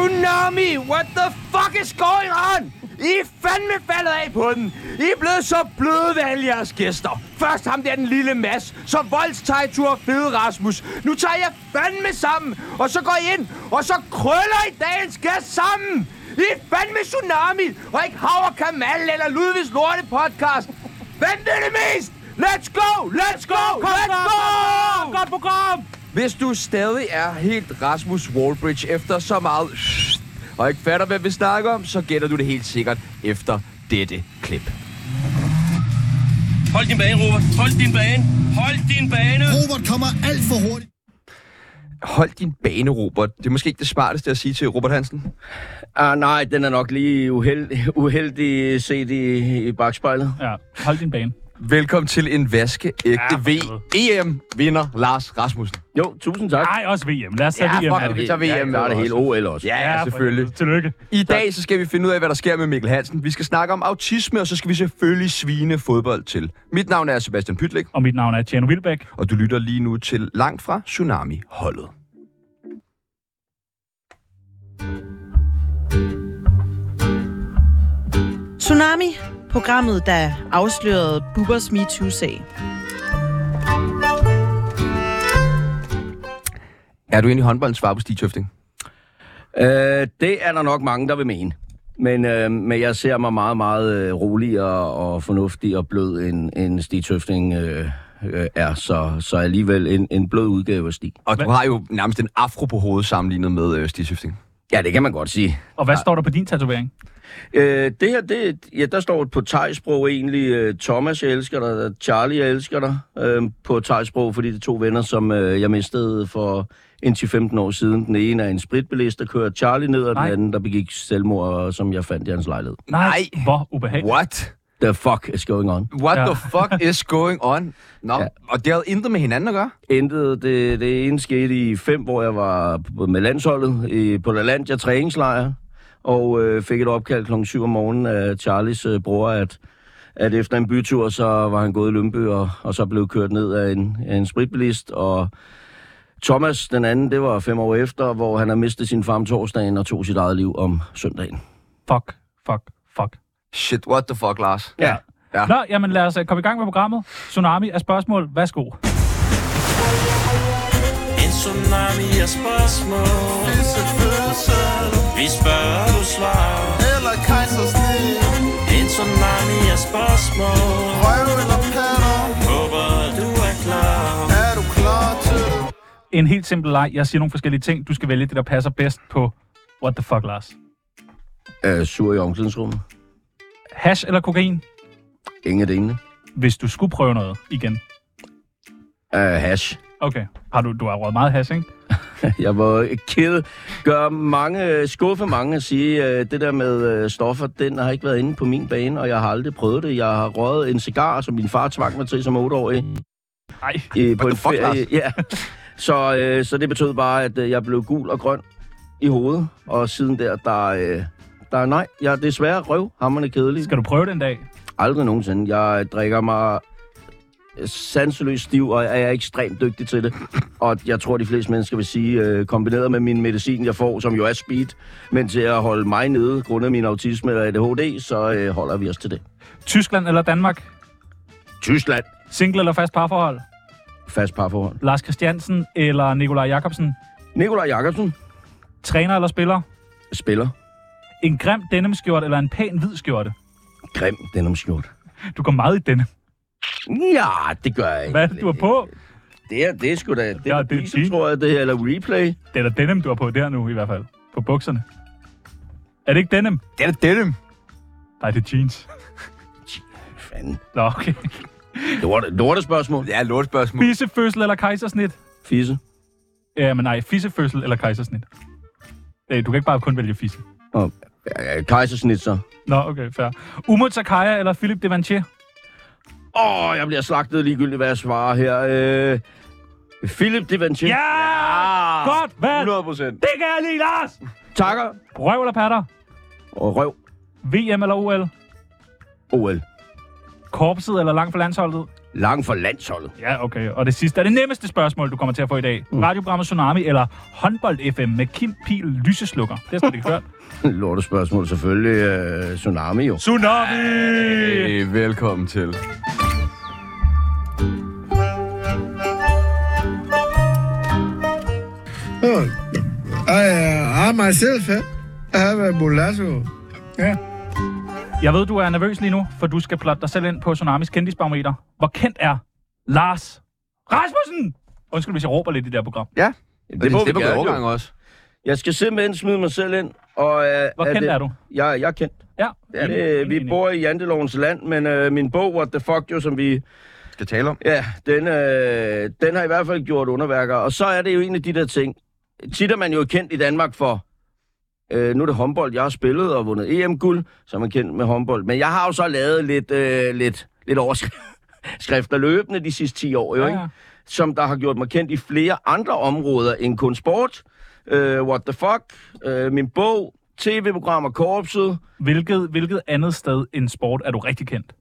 Tommy, what the fuck is going on? I er fandme faldet af på den. I er blevet så bløde ved alle jeres gæster. Først ham der den lille Mads, så voldstejtur fede Rasmus. Nu tager jeg fandme sammen, og så går I ind, og så krøller I dagens gæst sammen. I er fandme tsunami, og ikke Havre Kamal eller Ludvigs Lorte podcast. Hvem ved det mest? Let's go! Let's go! Let's go! Godt program! Hvis du stadig er helt Rasmus Wallbridge efter så meget og ikke fatter, hvad vi snakker om, så gætter du det helt sikkert efter dette klip. Hold din bane, Robert. Hold din bane. Hold din bane. Robert kommer alt for hurtigt. Hold din bane, Robert. Det er måske ikke det smarteste at sige til Robert Hansen. Ah, nej, den er nok lige uheld, uheldig set i, i bagspejlet. Ja, hold din bane. Velkommen til en vaskeægte Ja, for VM-vinder Lars Rasmussen. Jo, tusind tak. Nej, også VM. Lad os tage Ja, VM. fuck her. det. vi tager VM Ja, der er det hele OL også. Ja, ja, for selvfølgelig. helvede. Tillykke. I dag så skal vi finde ud af, hvad der sker med Mikkel Hansen. Vi skal snakke om autisme, og så skal vi selvfølgelig svine fodbold til. Mit navn er Sebastian Pytlik, Og mit navn er Tjerno Wilbæk. og du lytter lige nu til Langt fra Tsunami-holdet. Tsunami, programmet, der afslørede Bubbers MeToo-sag. Er du inde i håndboldens svar på Stig Tøfting? Øh, det er der nok mange, der vil mene. Men, øh, men jeg ser mig meget, meget øh, rolig og, og fornuftig og blød, end, end Stig Tøfting øh, øh, er. Så, så alligevel en, en blød udgave af Stig. Og du har jo nærmest en afro på hovedet sammenlignet med øh, Stig Tøfting. Ja, det kan man godt sige. Og hvad står der på din tatovering? Øh, det her, det, ja, der står på tegsprog egentlig, øh, Thomas, jeg elsker dig, og Charlie, jeg elsker dig, øh, på tegsprog, fordi det er to venner, som øh, jeg mistede for indtil 15 år siden. Den ene er en spritbilist, der kører Charlie ned, og Nej. den anden, der begik selvmord, og som jeg fandt i hans lejlighed. Nej. Hvor ubehageligt. What? The fuck is going on? What Ja. the fuck is going on? Nå, Ja. og det har intet med hinanden at gøre. Intet, det, det ene skete i fem, hvor jeg var på- med landsholdet i, på La Landia træningslejr, og øh, fik et opkald kl. 7 om morgenen af Charlies øh, bror, at, at efter en bytur, så var han gået i Lønby, og, og så blev kørt ned af en, af en spritbilist, og Thomas, den anden, det var fem år efter, hvor han har mistet sin far om torsdagen og tog sit eget liv om søndagen. Fuck, fuck, fuck. Shit, what the fuck, Lars? Ja. Ja. Nå, jamen lad os øh, komme i gang med programmet. Tsunami af spørgsmål. Værsgo. En tsunami af spørgsmål Vi spørger, du svarer Eller kejsersnit En tsunami af spørgsmål Røv eller patter Håber, du er klar Er du klar til det? En helt simpel leg. Jeg siger nogle forskellige ting. Du skal vælge det, der passer bedst på What the fuck, Lars. Øh, sur i omklædningsrummet. Hash eller kokain? Ingen af delene. Hvis du skulle prøve noget igen. Øh, hash. Okay. Har du, du har røget meget hash, ikke? Jeg var ked. Gør mange, skuffe mange at sige, øh, det der med øh, stoffer, den har ikke været inde på min bane, og jeg har aldrig prøvet det. Jeg har røget en cigar, som min far tvang mig til som otteårig. Nej. Øh, på the en fuck, ferie. Ja. Så, øh, så det betød bare, at øh, jeg blev gul og grøn i hovedet, og siden der, der, øh, der er nej. Jeg er desværre røv, hammerne kedelig. Skal du prøve det en dag? Aldrig nogensinde. Jeg drikker mig sanseløst stiv, og jeg er ekstremt dygtig til det. Og jeg tror, de fleste mennesker vil sige, øh, kombineret med min medicin, jeg får, som jo er speed, men til at holde mig nede, grundet min autisme eller ADHD, så øh, holder vi os til det. Tyskland eller Danmark? Tyskland. Single eller fast parforhold? Fast parforhold. Lars Christiansen eller Nikolaj Jakobsen? Nikolaj Jakobsen Træner eller spiller? spiller. En grim denimskjorte eller en pæn hvid skjorte? Grim, den om skjort. Du går meget i denne. Ja, det gør jeg ikke. Hvad er det, du har på? Det er, det er sgu da... Det Ja, er, det er ja, din. det, tror jeg, det her, eller replay. Det er da denim, du har på der nu i hvert fald. På bukserne. Er det ikke denim? Det er da denim. Nej, det er jeans. Fanden. Nå, okay. Lorte, lorte spørgsmål. Ja, lortspørgsmål. Bissefødsel eller kejsersnit? Fisse. Ja, men nej, fissefødsel eller kejsersnit? Øh, Du kan ikke bare kun vælge fisse. Og, øh, kejsersnitser. Nå, okay, fair. Umut Sakaya eller Philip Devanchier? Åh, oh, jeg bliver slagtet ligegyldigt, hvad jeg svarer her. Øh, Philip Devantier. Ja! Godt, hvad? 100 procent. Det kan jeg lide, Lars! Takker. Røv eller patter? Og røv. VM eller OL? OL. Korpset eller langt for landsholdet? Lang for landsholdet. Ja, okay. Og det sidste er det nemmeste spørgsmål, du kommer til at få i dag. Mm. Radioprogrammet Tsunami eller Håndbold FM med Kim Pil Lyseslukker. Det har jeg slet ikke hørt. Lortet spørgsmål selvfølgelig. Øh, tsunami jo. Tsunami! Øh, velkommen til. Oh, I, uh, I myself eh? I have a mulatto. Yeah. Jeg ved, du er nervøs lige nu, for du skal plotte dig selv ind på Tsunamis kendisbarometer. Hvor kendt er Lars Rasmussen? Undskyld, hvis jeg råber lidt i det her program. Jamen, det må vi det gerne jo. overgang også. Jeg skal simpelthen smide mig selv ind. Og, øh, Hvor kendt det, er du? Jeg, jeg er kendt. Ja, Ja, det, vi bor i Jantelovens land, men øh, min bog, What the Fuck, jo, som vi... Skal tale om. Ja, den, øh, den har i hvert fald gjort underværker. Og så er det jo en af de der ting. Tit er man jo kendt i Danmark for... Øh, nu er det håndbold, jeg har spillet og vundet EM-guld, så er man kendt med håndbold. Men jeg har jo så lavet lidt, øh, lidt, lidt overskrifter løbende de sidste 10 år, jo, Ja, ikke? ja. som der har gjort mig kendt i flere andre områder end kun sport. Øh, what the fuck? Øh, min bog, tv-programmer, korpset. Hvilket, hvilket andet sted end sport er du rigtig kendt?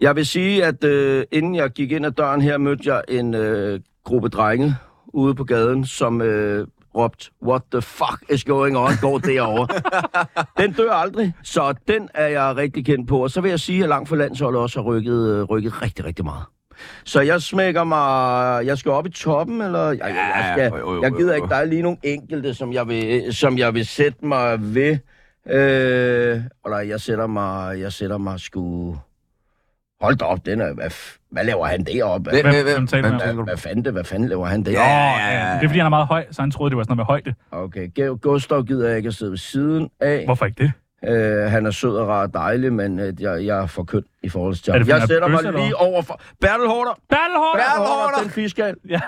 Jeg vil sige, at øh, inden jeg gik ind ad døren her, mødte jeg en øh, gruppe drenge ude på gaden, som øh, råbte, what the fuck is going on, går derovre. den dør aldrig, så den er jeg rigtig kendt på. Og så vil jeg sige, at langt for landsholdet også har rykket, øh, rykket rigtig, rigtig meget. Så jeg smækker mig... Jeg skal op i toppen, eller... Jeg, jeg, jeg, Ja, skal, jo, jo, jo, jeg gider jo. ikke, der er lige nogle enkelte, som jeg vil, som jeg vil sætte mig ved. Øh, og nej, jeg sætter mig... Jeg sætter mig sgu... Hold da op, den er... Hvad, f- hvad laver han deroppe? Hvad, Hvem, hvem, hvem? taler hvem- du med? hvad, hvad, fanden det, hvad fanden laver han Åh, deroppe? ja, ja, ja. Det er, fordi han er meget høj, så han troede, det var sådan noget med højde. Okay, Georg Gustav gider jeg ikke at sidde ved siden af. Hvorfor ikke det? Øh, han er sød og rar og dejlig, men øh, jeg, jeg er for køn i forhold til Er det, ham. fordi Jeg han er sætter bøsse, mig eller lige over for... Bertel Hårder! Bertelhård! Bertel Bertel Hårder, Haarder! den fiskal. Ja,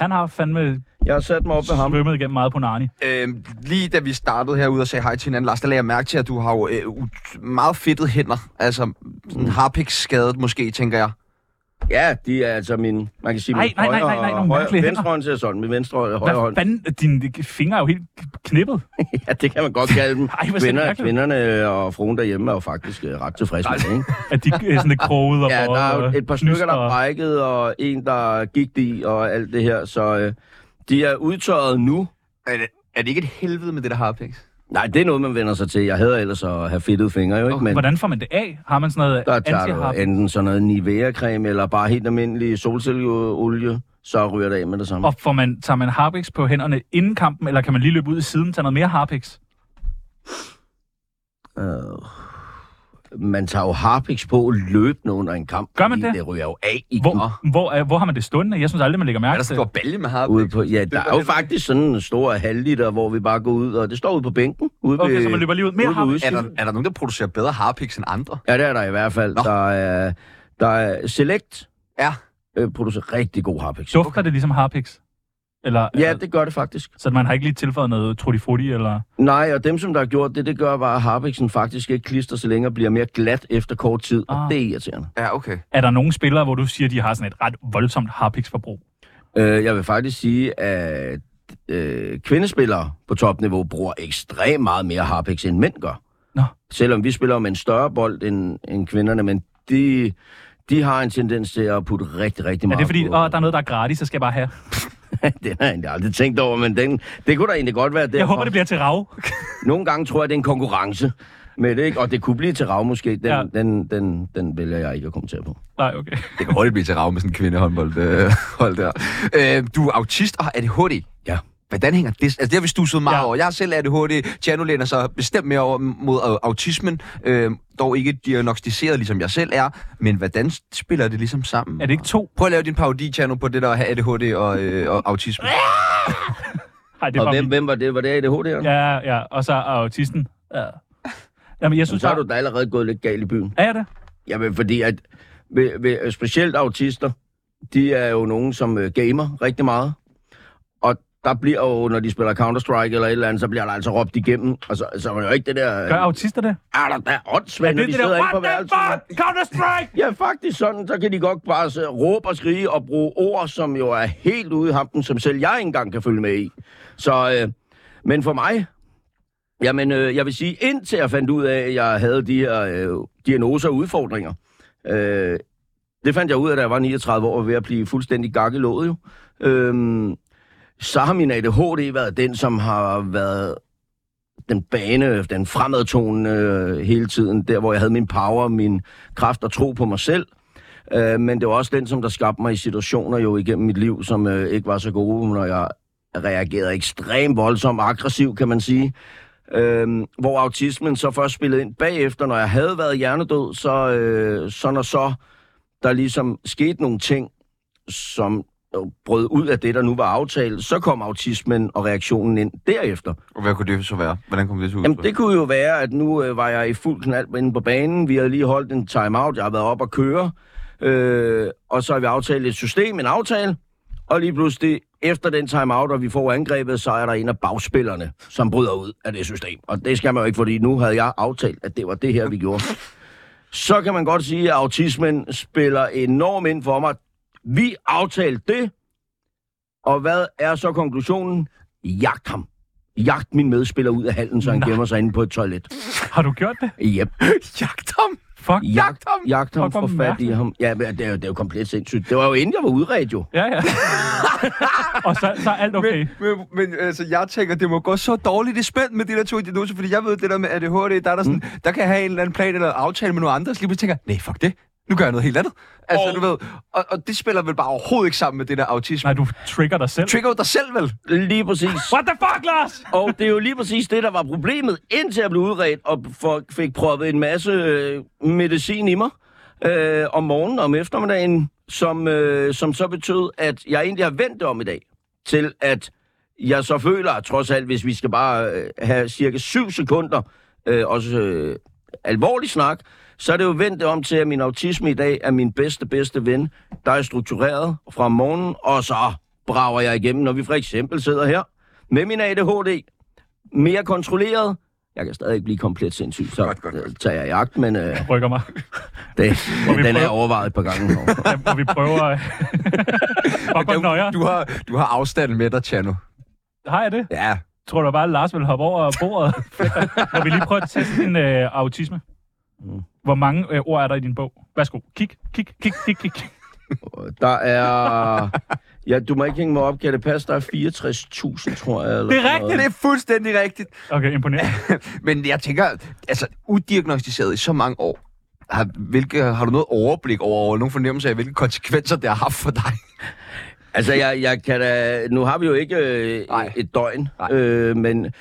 han har fandme Jeg har sat mig op ved ham. svømmet igennem meget på Narni. Øhm, lige da vi startede herude og sagde hej til hinanden, Lars, der lagde jeg mærke til, at du har jo øh, ut- meget fedtet hænder. Altså, sådan harpiksskadet måske, tænker jeg. Ja, de er altså min, man kan sige, Nej, min nej, nej, højre, nej, nej, nogle højre mærkelige venstre hånd ser sådan, min venstre og højre Hvad hånd. fanden? Dine fingre er jo helt knippet. Ja, det kan man godt kalde dem. Ej, hvor ser det Kvinder, mærkeligt ud. kvinderne og fruen derhjemme er jo faktisk øh, ret tilfredse med det, ikke? At de er sådan lidt kroget og Ja, der er jo og et par stykker, der er øh, knyster. brækket, og en, der gik i, og alt det her, så øh, de er udtørret nu. Er det, er det ikke et helvede med det der harpiks? Nej, det er noget, man vender sig til. Jeg hader ellers at have fedtede fingre, jo ikke? Men Hvordan får man det af? Har man sådan noget der tager antihap? du enten sådan noget Nivea-creme, eller bare helt almindelig solcelleolie, så ryger det af med det samme. Og får man, tager man harpiks på hænderne inden kampen, eller kan man lige løbe ud i siden og tage noget mere harpiks? Øh, man tager jo harpiks på løbende under en kamp. Gør man fordi det? Det ryger jo af i Hvor, den. hvor, er, hvor har man det stående? Jeg synes aldrig, man lægger Er mærke der til sådan det. en balje med harpiks? Ude på, ja, der er jo faktisk sådan en stor halvliter, hvor vi bare går ud, og det står ude på bænken. Ude Okay, ved, så man løber lige ud. Mere ude ved harpiks. Er udsigten. der, er der nogen, der producerer bedre harpiks end andre? Ja, det er der i hvert fald. Nå. Der er, der er Select Ja. øh, producerer rigtig god harpiks. Dufter det ligesom harpiks? Eller, Ja, det gør det faktisk. Så man har ikke lige tilføjet noget truttifrutti, eller... Nej, og dem, som der har gjort det, det gør bare, at harpiksen faktisk ikke klister så længe og bliver mere glat efter kort tid, ah. Ah. og det er irriterende. Ja, okay. Er der nogle spillere, hvor du siger, de har sådan et ret voldsomt harpiksforbrug? Øh, jeg vil faktisk sige, at øh, kvindespillere på topniveau bruger ekstremt meget mere harpiks, end mænd gør. Nå. Selvom vi spiller med en større bold end, end kvinderne, men de, de har en tendens til at putte rigtig, rigtig Er meget det fordi, på. åh, der er noget, der er gratis, så skal jeg bare have? den har jeg egentlig aldrig tænkt over, men den, det kunne da egentlig godt være derfor. Jeg håber, det bliver til rav. Nogle gange tror jeg, det er en konkurrence med det, ikke? og det kunne blive til rav måske. Den, Ja. ja. den, den, den vælger jeg ikke at kommentere på. Nej, okay. Det kan hurtigt blive til rav med sådan en kvindehåndbold øh, hold der. Øh, du er autist og har ADHD. Ja. Hvordan hænger det? Altså, det har vi stusset meget Ja. ja. over. Jeg har selv ADHD. Tjano læner sig bestemt mere over mod au- autismen. Øh, dog ikke diagnostiseret, ligesom jeg selv er. Men hvordan spiller det ligesom sammen? Er det ikke to? Prøv at lave din parodi, Tjano, på det der at have ADHD og, øh, og autisme. Nej, det Og var hvem, min- hvem var det? Var det ADHD? Ja, Ja, ja, og så er autisten. Ja. Jamen, jeg synes, så har bare- du da allerede gået lidt galt i byen. Er jeg det? Jamen, fordi at ved, ved, specielt autister, de er jo nogen, som øh, gamer rigtig meget. Og der bliver jo, når de spiller Counter-Strike eller et eller andet, så bliver der altså råbt igennem. Og så, så er det jo ikke det der... Gør autister det? Er der da Er åndssvagt, når det de det der, sidder inde på what the værelset? fuck, Counter-Strike? Ja, faktisk sådan, så kan de godt bare så råbe og skrige og bruge ord, som jo er helt ude i hampen, som selv jeg ikke engang kan følge med i. Så, øh, men for mig, jamen, øh, jeg vil sige, indtil jeg fandt ud af, at jeg havde de her øh, diagnoser og udfordringer, øh, Det fandt jeg ud af, da jeg var 39 år, og ved at blive fuldstændig gak i låget jo. Øhm, så har min ADHD været den, som har været den bane, den fremadtonende øh, hele tiden, der hvor jeg havde min power, min kraft og tro på mig selv. Øh, men det var også den, som der skabte mig i situationer jo igennem mit liv, som øh, ikke var så gode, når jeg reagerede ekstremt voldsomt aggressiv, kan man sige. Øhm, hvor autismen så først spillede ind bagefter, når jeg havde været hjernedød, så, øh, så når så der ligesom skete nogle ting, som jo brød ud af det, der nu var aftalt, så kom autismen og reaktionen ind derefter. Og hvad kunne det så være? Hvordan kom det til Jamen, udtryk? det kunne jo være, at nu øh, var jeg i fuld knald inde på banen. Vi havde lige holdt en timeout. Jeg har været op og køre. Øh, og så har vi aftalt et system, en aftale. Og lige pludselig, efter den timeout, og vi får angrebet, så er der en af bagspillerne, som bryder ud af det system. Og det skal man jo ikke, fordi nu havde jeg aftalt, at det var det her, vi gjorde. Så kan man godt sige, at autismen spiller enormt ind for mig. Vi aftalte det, og hvad er så konklusionen? Jagt ham. Jagt min medspiller ud af halen, så han Nej. gemmer sig inde på et toilet. Har du gjort det? Yep. Jagt ham! Fuck. Jagt ham! Jagt ham, Fuck, for hvor fat i mærkeligt. ham. Ja, men det er, jo, det er jo komplet sindssygt. Det var jo inden, jeg var udredt jo. Ja, ja. og så, så er alt okay. Men... Men, men altså, jeg tænker, det må gå så dårligt i spænd med de der to diagnoser, fordi jeg ved det der med ADHD, der, er der, sådan, mm. der kan jeg have en eller anden plan eller aftale med nogle andre, og så lige pludselig tænker, jeg, nej, fuck det, nu gør jeg noget helt andet. Altså, oh. du ved, og, og, det spiller vel bare overhovedet ikke sammen med det der autisme. Nej, Nej. du trigger dig selv. Trigger jo dig selv, vel? Lige præcis. What the fuck, Lars? Og det er jo lige præcis det, der var problemet, indtil jeg blev udredt og for, fik proppet en masse øh, medicin i mig øh, om morgenen og om eftermiddagen, som, øh, som så betød, at jeg egentlig har vendt det om i dag, til at jeg så føler, at trods alt, hvis vi skal bare øh, have cirka 7 sekunder, øh, også øh, alvorlig snak, så er det jo vendt det om til, at min autisme i dag er min bedste, bedste ven, der er struktureret fra morgenen, og så brager jeg igennem, når vi for eksempel sidder her med min ADHD, mere kontrolleret. Jeg kan stadig ikke blive komplet sindssyg, så godt, godt, godt. tager jeg i agt, men øh, Rykker mig. det, vi den er prøve- overvejet et par gange. Hvor vi prøver... øh, Fuck, hvor nøjer. Du har, du har afstanden med dig, Chano. Har jeg det? Ja. Tror du bare, at Lars vil hoppe over bordet? Må vi lige prøve at teste din øh, autisme? Mm. Hvor mange øh, ord er der i din bog? Værsgo. Kig, kig, kig, kig, kig. Der er... Ja, du må ikke hænge mig op, kan det passe? Der er 64.000, tror jeg. Eller Det er sådan rigtigt, noget. Det er fuldstændig rigtigt. Okay, imponerende. Men jeg tænker, altså, udiagnostiseret i så mange år, har, hvilke, har du noget overblik over, over nogen fornemmelse af, hvilke konsekvenser det har haft for dig? Altså, jeg, jeg kan da... Nu har vi jo ikke øh, Nej. et døgn, Nej. øh, men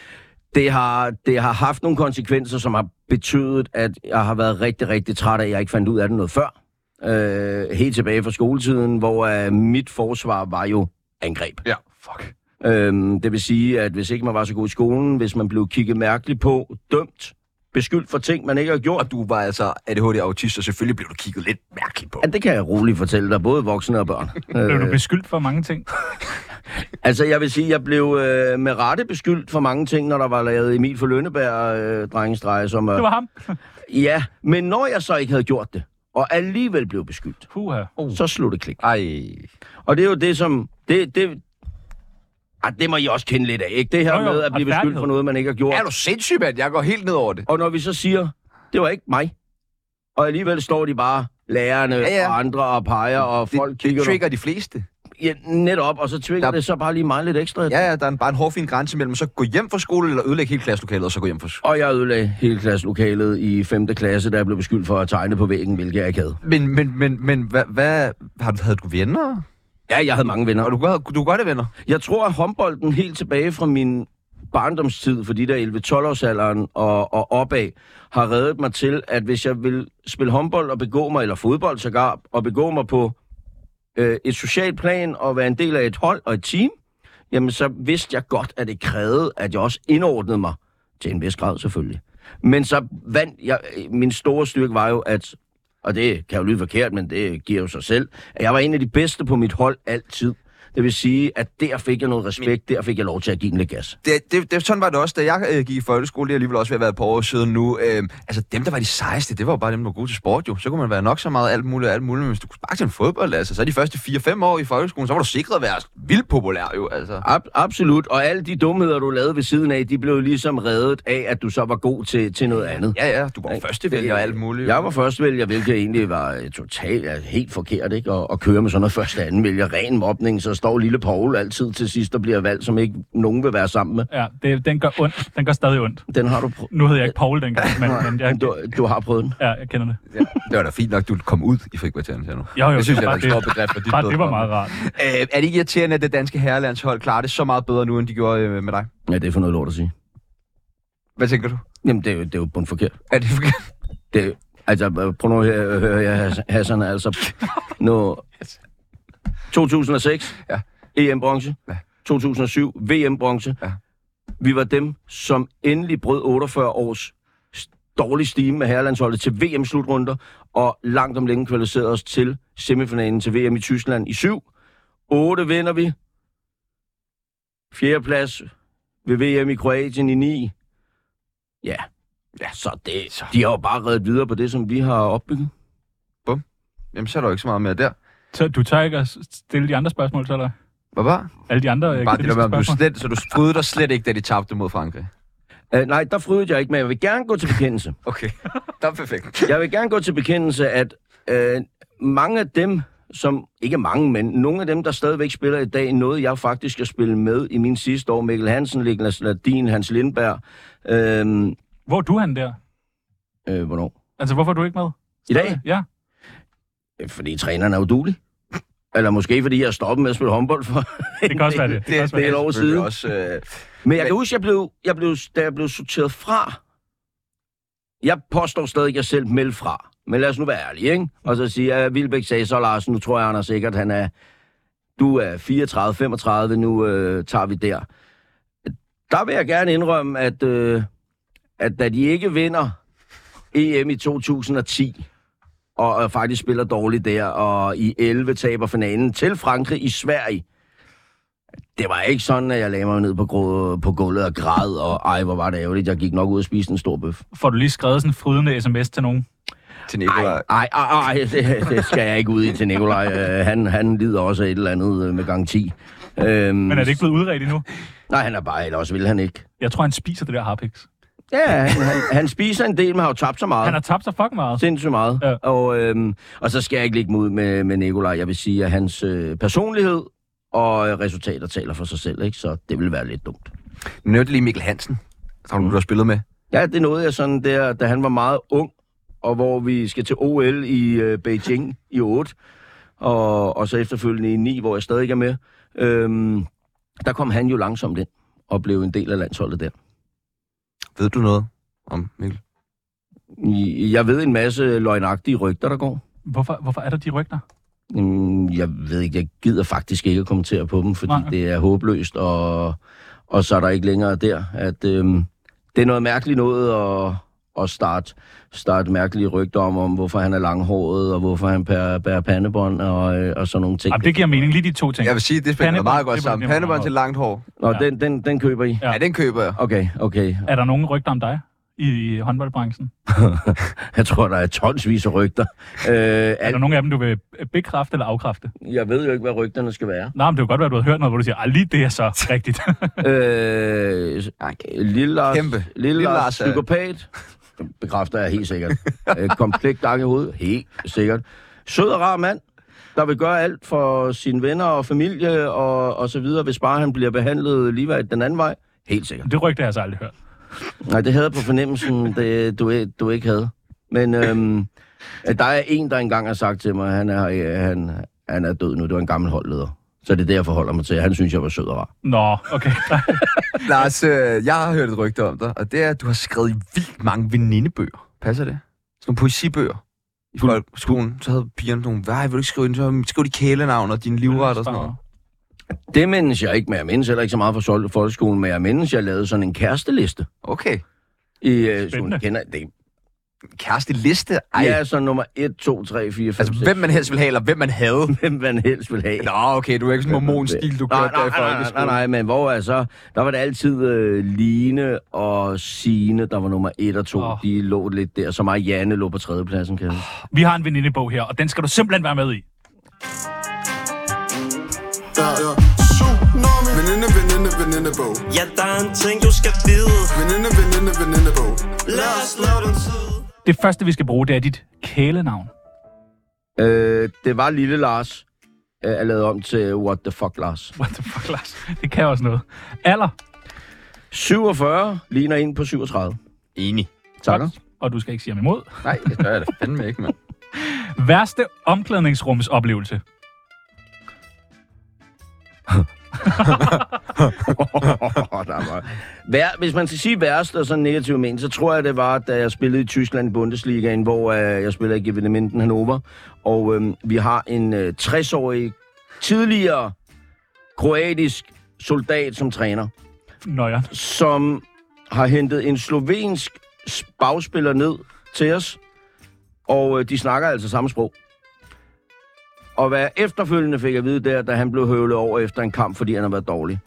det har, det har haft nogle konsekvenser, som har betydet, at jeg har været rigtig, rigtig træt af, at jeg ikke fandt ud af det noget før. Øh, helt tilbage fra skoletiden, hvor øh, mit forsvar var jo angreb. Ja, fuck. Øhm, det vil sige, at hvis ikke man var så god i skolen, hvis man blev kigget mærkeligt på, dømt, beskyldt for ting, man ikke har gjort, Og du var altså ADHD-autist, og selvfølgelig blev du kigget lidt mærkeligt på. ja, det kan jeg roligt fortælle dig, både voksne og børn. Blev du øh, beskyldt for mange ting? altså, jeg vil sige, jeg blev øh, med rette beskyldt for mange ting, når der var lavet Emil for Lønneberg øh, drengestreger, som... Det Øh, var ham. ja, men når jeg så ikke havde gjort det, og alligevel blev beskyldt, Puha. så slog det klik. Ej. Og det er jo det, som... Det, det, ah, det må I også kende lidt af, ikke? Det her Jo, jo, med at blive beskyldt retfærdighed. for noget, man ikke har gjort. Er du sindssyg, mand? Jeg går helt ned over det. Og når vi så siger, det var ikke mig, og alligevel står de bare lærerne ja, ja. ja. og andre og peger, og folk det, kigger det trigger de fleste. ja, netop, og så tvinger Der- der... det så bare lige mig lidt ekstra. Ja, ja, der er en, bare en hårfin grænse mellem så gå hjem fra skole, eller ødelægge hele klasselokalet, og så gå hjem fra skole. Og jeg ødelagde hele klasselokalet i 5. klasse, da jeg blev beskyldt for at tegne på væggen, hvilket jeg ikke havde. Men, men, men, men hvad, hvad har du, havde du venner? Ja, jeg havde mange venner. Og du, havde- du kunne godt have venner? Jeg tror, at håndbolden helt tilbage fra min barndomstid, for de der 11-12-årsalderen og, og opad, har reddet mig til, at hvis jeg vil spille håndbold og begå mig, eller fodbold sågar, og begå mig på øh, et socialt plan og være en del af et hold og et team, jamen så vidste jeg godt, at det krævede, at jeg også indordnede mig. Til en vis grad selvfølgelig. Men så vandt jeg... Min store styrke var jo, at... Og det kan jo lyde forkert, men det giver jo sig selv. At jeg var en af de bedste på mit hold altid. Det vil sige, at der fik jeg noget respekt, der fik jeg lov til at give den lidt gas. det, det, det, sådan var det også, da jeg øh, gik i folkeskole. Det er alligevel også ved at være på år siden nu. Øh, altså, dem, der var de sejeste, det var jo bare dem, der var gode til sport, jo. Så kunne man være nok så meget alt muligt, alt muligt. Men hvis du kunne sparke til en fodbold, altså, så de første 4-5 år i folkeskolen, så var du sikret at være vildt populær jo, altså. Ab- absolut, og alle de dumheder, du lavede ved siden af, de blev jo ligesom reddet af, at du så var god til, til noget andet. Ja, ja, du var jo Ikke? førstevælger og alt muligt. Jeg var førstevælger, hvilket egentlig var øh, totalt altså, helt forkert, ikke? At, at køre med sådan noget første anden vælger. Ren mobning, så står lille Paul altid til sidst og bliver valgt, som ikke nogen vil være sammen med. Ja, det, den gør ondt. Den gør stadig ondt. Den har du prøvet. Nu hedder jeg ikke Paul dengang, men, men jeg, Du, du har prøvet den. ja, jeg kender det. Ja. Det var da fint nok, du kom ud i frikvarteren, siger jeg nu. Jo, jo, det synes det jeg var er en det. stor bedrift for dit Bare det var vedkommende. meget rart. Øh, er det ikke irriterende, at det danske herrelandshold klarer det så meget bedre nu, end de gjorde øh, med dig? Ja, det er for noget lort at sige. Hvad tænker du? Jamen, det er jo, det er jo bundforkert. Er det forkert? Det, altså, prøv nu at høre, høre jeg, Hassan, altså. Nu, 2006, Ja. EM-bronze. Ja. 2007, VM-bronze. Ja. Vi var dem, som endelig brød 48 års s- dårlig stime med herrelandsholdet til VM-slutrunder, og langt om længe kvalificerede os til semifinalen til VM i Tyskland i 7. 8 vinder vi. 4. plads ved VM i Kroatien i 9. Ja, ja så det, så. de har jo bare reddet videre på det, som vi har opbygget. Jamen, så er der jo ikke så meget mere der. Så du tager ikke at stille de andre spørgsmål til dig? Hvad var? Alle de andre øh, Bare det der kritiske med, om du spørgsmål? slet, så du frydede dig slet ikke, da de tabte mod Frankrig. Uh, nej, der frydede jeg ikke, men jeg vil gerne gå til bekendelse. Okay, der er perfekt. Jeg vil gerne gå til bekendelse, at øh, mange af dem, som ikke mange, men nogle af dem, der stadigvæk spiller i dag, noget jeg faktisk at spille med i min sidste år. Mikkel Hansen, Niklas Ladin, Hans Lindberg. Øh, Hvor er du han der? øh, hvornår? Altså, hvorfor er du ikke med? I dag? Ja. Øh, Fordi træneren er udulig. Eller måske fordi jeg stoppede med at spille håndbold for Det kan også være det. Det kan også det er være et det. år Selvfølgelig siden. Også, øh, Men jeg kan huske, jeg blev, jeg blev, da jeg blev sorteret fra, jeg påstår stadig, at jeg selv meldte fra. Men lad os nu være ærlige, ikke? Og så sige, at Vilbæk sagde, så Larsen, nu tror jeg, Anders sikkert, han er, du er 34-35, nu øh, tager vi der. Der vil jeg gerne indrømme, at, øh, at da de ikke vinder EM i 2010, og, og faktisk spiller dårligt der, og i 11 taber finalen til Frankrig i Sverige, det var ikke sådan, at jeg lagde mig ned på, gru- på gulvet og græd, og ej, hvor var det ærgerligt. Jeg gik nok ud og spiste en stor bøf. Får du lige skrevet sådan en frydende sms til nogen? til Ej, Nicolaj. ej, ej, ej det, det skal jeg ikke ud i til Nikolaj. Øh, han, han lider også af et eller andet øh, med gang 10. Øhm, Men er det ikke blevet udredt endnu? Nej, han er bare, eller også vil han ikke. Jeg tror, han spiser det der harpiks. Ja, han, han, han spiser en del, men har jo tabt så meget. Han har tabt sig fucking meget. Sindssygt meget. Ja. Ja. Og, øhm, og så skal jeg ikke ligge mig ud med, med Nikolaj. Jeg vil sige, at hans øh, personlighed og øh, resultater taler for sig selv, ikke? så det vil være lidt dumt. Nu nævnte lige Mikkel Hansen, som du har spillet med. Ja, det nåede jeg sådan der, da han var meget ung, og hvor vi skal til OL i øh, Beijing i 8, og, og så efterfølgende i 9, hvor jeg stadig er med. Øhm, der kom han jo langsomt ind og blev en del af landsholdet der. Ved du noget om Mikkel? I- Jeg ved en masse løgnagtige rygter, der går. Hvorfor, hvorfor er der de rygter? Mm, Jeg ved ikke, jeg gider faktisk ikke at kommentere på dem, fordi Nej. Nej. det er håbløst, og, og så er der ikke længere der, at øhm, det er noget mærkeligt noget at, at starte, starte mærkelige rygter om, om hvorfor han er langhåret, og hvorfor han bærer, bærer pandebånd, og, øh, og sådan nogle ting. Jamen, det giver mening. Lige de to ting. Jeg vil sige, det spiller Pandebånd, meget godt det sammen. bliver nemt. Pandebånd til langt hår. Nå, ja. den, den, den køber I? Ja. Ja. ja, den køber jeg. Okay, okay. Er der nogen rygter om dig i, i håndboldbranchen? Jeg tror, der er tonsvis af rygter. Øh, Er der alt, nogen af dem, du vil bekræfte eller afkræfte? jeg ved jo ikke, hvad rygterne skal være. Nej, men det er jo godt være, du har hørt noget, hvor du siger, "Ej, lige det er så rigtigt. Øh, Lille Lars, Kæmpe. Lille Lille Lille Lars, Lars er- psykopat. Det bekræfter jeg helt sikkert. øh, komplet gang i hovedet. Helt sikkert. Sød og rar mand, der vil gøre alt for sine venner og familie og, og så videre, hvis bare han bliver behandlet ligeværdigt den anden vej. Helt sikkert. det rygte har jeg så aldrig hørt. Nej, det havde jeg på fornemmelsen, det, du, ikke- du ikke havde. Men øhm, at der er en, der engang har sagt til mig, at han er, øh, han, han er død nu. Det var en gammel holdleder. Så det er det, jeg forholder mig til. Han synes, jeg var sød og rar. Nå, okay. Lars, øh, jeg har hørt et rygte om dig, og det er, at du har skrevet vildt mange venindebøger. Passer det? Sådan nogle poesibøger. I folkeskolen, så havde pigerne nogle, nej, vil du ikke skrive ind, så skriv de kælenavn og din livret og sådan noget. Det mindes jeg ikke, men jeg mindes heller ikke så meget fra sol- folkeskolen, men jeg mindes, jeg lavede sådan en kæresteliste. Okay. I, øh, sådan, Spændende. en kender, det, Kæreste liste? Ej. Ej. Ja, så nummer 1, 2, 3, 4, 5, Altså, altså, 6. hvem man helst vil have, eller hvem man havde. Hvem man helst vil have. Nå, okay, du er ikke sådan en mormonstil, du nej, kørte der nej, nej, i nej, folkeskolen. nej, men hvor er så? Der var det altid øh, Line og Sine, der var nummer 1 og 2. Åh. Oh. De lå lidt der, så mig og Janne lå på tredjepladsen, kan jeg huske. Vi har en venindebog her, og den skal du simpelthen være med i. Ja, ja. Så Når man... Veninde, veninde, venindebog. Ja, der er en ting, du skal vide Veninde, veninde, venindebog. Lad os lave den tid Det første, vi skal bruge, det er dit kælenavn. Øh, det var Lille Lars, øh, er lavet om til What the fuck, Lars. What the fuck, Lars? Det kan også noget. Alder. 47 ligner en på 37. Enig. Takker. Og du skal ikke sige ham imod. Nej, det gør jeg da fandme ikke, mand. Værste omklædningsrumsoplevelse. der var... Vær, hvis man skal sige værst og sådan negativt men, så tror jeg, det var, da jeg spillede i Tyskland i Bundesligaen, hvor øh, jeg spiller i Gevindementen Hannover. Og øh, vi har en øh, 60-årig tidligere kroatisk soldat som træner, Nøjeren. som har hentet en slovensk bagspiller ned til os. Og øh, de snakker altså samme sprog. Og hvad jeg efterfølgende fik jeg at vide der, da han blev høvlet over efter en kamp, fordi han har været dårlig.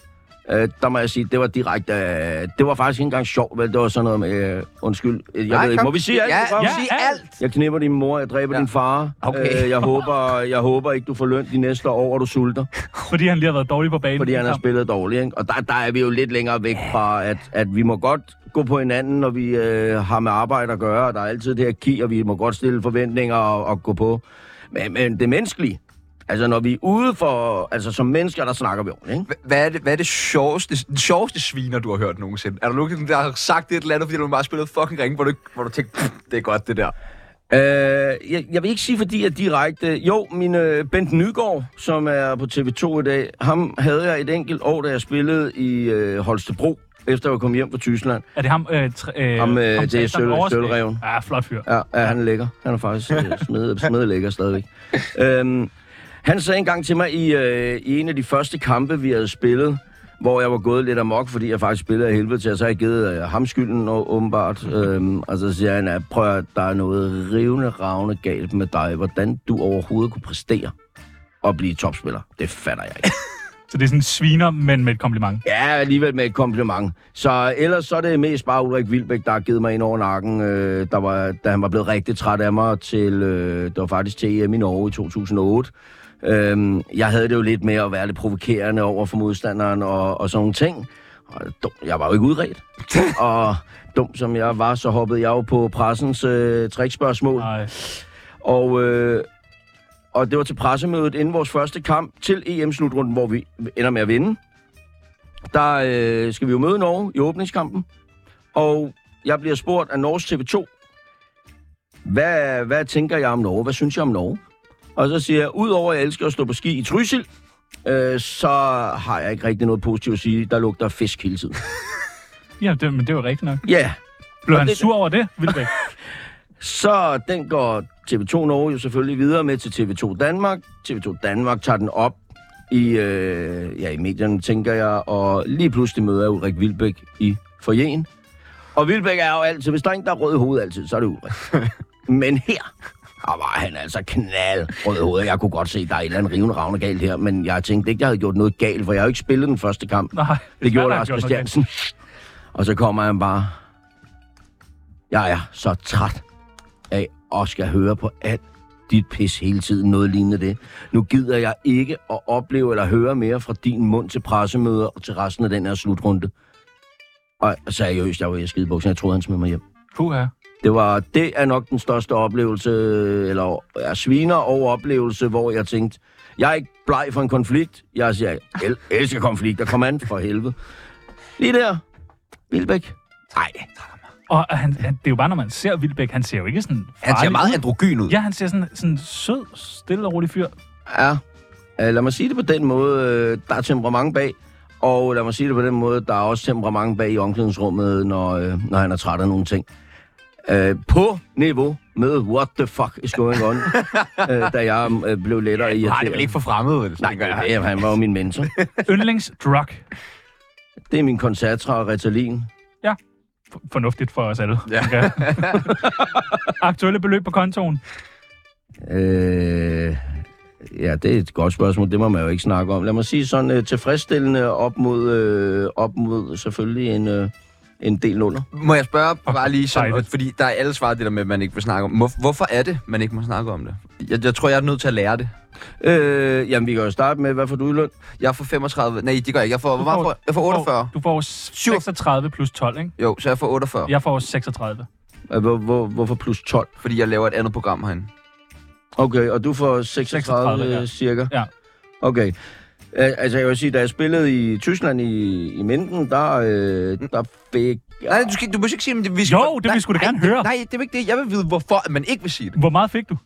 Øh, der må jeg sige, det var direkte... Øh, det var faktisk ikke engang sjovt, vel? Det var sådan noget med... Øh, undskyld, øh, jeg Nej, ved ikke, må vi sige alt? Ja, i programmet? ja, sige Ja, alt. alt. Jeg knipper din mor, jeg dræber Ja. ja. din far. Okay. Øh, jeg, håber, jeg håber ikke, du får løn de næste år, og du sulter, Fordi han lige har været dårlig på banen. fordi han har Kom. spillet dårligt. Ikke? Og der, der er vi jo lidt længere væk fra, at, at vi må godt gå på hinanden, når vi øh, har med arbejde at gøre. Og der er altid det her ki, og vi må godt stille forventninger og, og gå på. Men, men det menneskelige, altså når vi er ude for... Altså som mennesker, der snakker vi ordentligt, ikke? Hva- Hvad er det, hvad er det sjoveste, den sjoveste sviner, du har hørt nogensinde? Er der nogen, der har sagt et eller andet, fordi du bare spillet fucking ring, hvor du, hvor du tænkte, "Pff, det er godt, det der. Øh, jeg, jeg vil ikke sige, fordi jeg direkte... Jo, min øh, Bent Nygaard, som er på TV2 i dag, ham havde jeg et enkelt år, da jeg spillede i øh, Holstebro, efter jeg kom hjem fra Tyskland. Er det ham? Øh, tr- øh, Ham, øh, det er Satan Sølv- Oversted? Sølvreven. Ja, flot fyr. Ja, ja han er lækker. Han er faktisk øh, smed, smed lækker stadigvæk. øhm, han sagde engang til mig i, øh, i en af de første kampe, vi havde spillet, hvor jeg var gået lidt amok, fordi jeg faktisk spillede af helvede til, og så har jeg givet øh, ham skylden å- åbenbart. Øhm, og så siger han, at prøv at høre, der er noget rivende, ravne galt med dig. Hvordan du overhovedet kunne præstere og blive topspiller, det fatter jeg ikke. Så det er sådan en sviner, men med et kompliment. Ja, alligevel med et kompliment. Så ellers så er det mest bare Ulrik Vilbæk, der har givet mig ind over nakken, øh, der var, da han var blevet rigtig træt af mig til, øh, det var faktisk til EM i Norge i 2008. Øhm, jeg havde det jo lidt med at være lidt provokerende over for modstanderen og, og sådan nogle ting. Og dum, jeg var jo ikke udredt. og dum som jeg var, så hoppede jeg jo på pressens øh, trickspørgsmål. Nej. Og, øh, og det var til pressemødet inden vores første kamp til EM-slutrunden, hvor vi ender med at vinde. Der øh, skal vi jo møde Norge i åbningskampen. Og jeg bliver spurgt af Norges TV2, hvad, hvad tænker jeg om Norge? Hvad synes jeg om Norge? Og så siger jeg, udover at jeg elsker at stå på ski i Trysil, øh, så har jeg ikke rigtig noget positivt at sige. Der lugter fisk hele tiden. Ja, det, men det var rigtigt nok. Ja, yeah. Blev Og han det- sur over det, Vilbæk? Så den går TV2 Norge jo selvfølgelig videre med til TV2 Danmark. TV2 Danmark tager den op i, øh, ja, i medierne, tænker jeg, og lige pludselig møder jeg Ulrik Vilbæk i forjen. Og Vilbæk er jo altid, hvis der er en, der er rød i hovedet altid, så er det Ulrik. Men her, der var han altså knald rød i hovedet. Jeg kunne godt se, der er et eller andet rivende ravne galt her, men jeg tænkte ikke, jeg havde gjort noget galt, for jeg har jo ikke spillet den første kamp. Nej. Det Hvad har gjorde han Lars gjort noget Christiansen. Og så kommer han bare... Jeg er så træt af at skal høre på alt dit pis hele tiden, noget lignende det. Nu gider jeg ikke at opleve eller høre mere fra din mund til pressemøder og til resten af den her slutrunde. Og seriøst, jeg var i skidebuksen. Jeg troede, han smed mig hjem. Puha. Det, var, det er nok den største oplevelse, eller jeg sviner over oplevelse, hvor jeg tænkte, jeg er ikke bleg for en konflikt. Jeg siger, jeg el- elsker konflikter. Kom an for helvede. Lige der. Vilbæk. Nej. Og han, han, det er jo bare, når man ser Vilbæk, han ser jo ikke sådan farlig. Han ser meget androgyn ud. Ja, han ser sådan sådan sød, stille og rolig fyr. Ja. Øh, Lad mig sige det på den måde. øh, Der er temperament bag. Og lad mig sige det på den måde, der er også temperament bag i omklædningsrummet, når, øh, når han er træt af nogle ting. Øh, på niveau med what the fuck is going on, øh, da jeg øh, blev lettere ja, Nej, irriteret. det er vel ikke for fremmed, vel? Nej, tænker jeg. ja, han var jo min mentor. Yndlingsdrug. Det er min koncertra og Ritalin. F- Fornuftigt for os alle. Ja. Okay. Aktuelle beløb på kontoen. Øh, ja, det er et godt spørgsmål. Det må man jo ikke snakke om. Lad mig sige sådan øh, tilfredsstillende op mod, øh, op mod selvfølgelig en, øh, en del nuller. Må jeg spørge bare lige sådan, dejligt. og- fordi der er alle svaret det der med, at man ikke vil snakke om. Hvor, hvorfor er det, man ikke må snakke om det? Jeg, jeg tror, jeg er nødt til at lære det. Øh, jamen, vi kan jo starte med, hvad får du i løn? Jeg får 35... Nej, det gør jeg ikke. Jeg får, hvor meget får, jeg? jeg får 48. Du får 36 plus 12, ikke? Jo, så jeg får 48, Jeg får 36. Øh, Hvor, hvor, hvorfor plus 12? fordi jeg laver et andet program herinde. Okay, og du får 36, 36, 36 ja. ja. cirka? Ja. Okay. Øh, Altså, jeg vil sige, da jeg spillede i Tyskland i, i Minden, der, øh, der fik... Nej, du, skal, du må ikke sige, men det, vi skal... Jo, det vil nej, vi sgu da nej, gerne det- høre. Nej, det er ikke det. Jeg vil vide, hvorfor at man ikke vil sige det. Hvor meget fik du?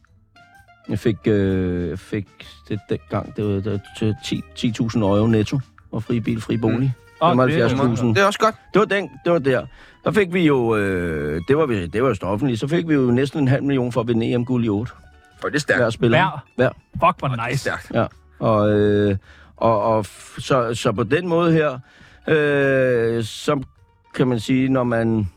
Jeg fik, øh, jeg fik det dengang, det var, det var til 10 10.000 euro netto og fri bil, fri bolig. Mm. Åh, det er 75.000. Det er også godt. Det var den, det var der. Der fik vi jo, øh, det var, vi- det var jo stoffentligt, så fik vi jo næsten en halv million for at vinde EM-guld i 8. Og det er Hver stærkt. spiller. Hver? Hver. Fuck, hvor nice. Stærkt. Ja. Og, øh, og, og f- så, så på den måde her, øh, så kan man sige, når man...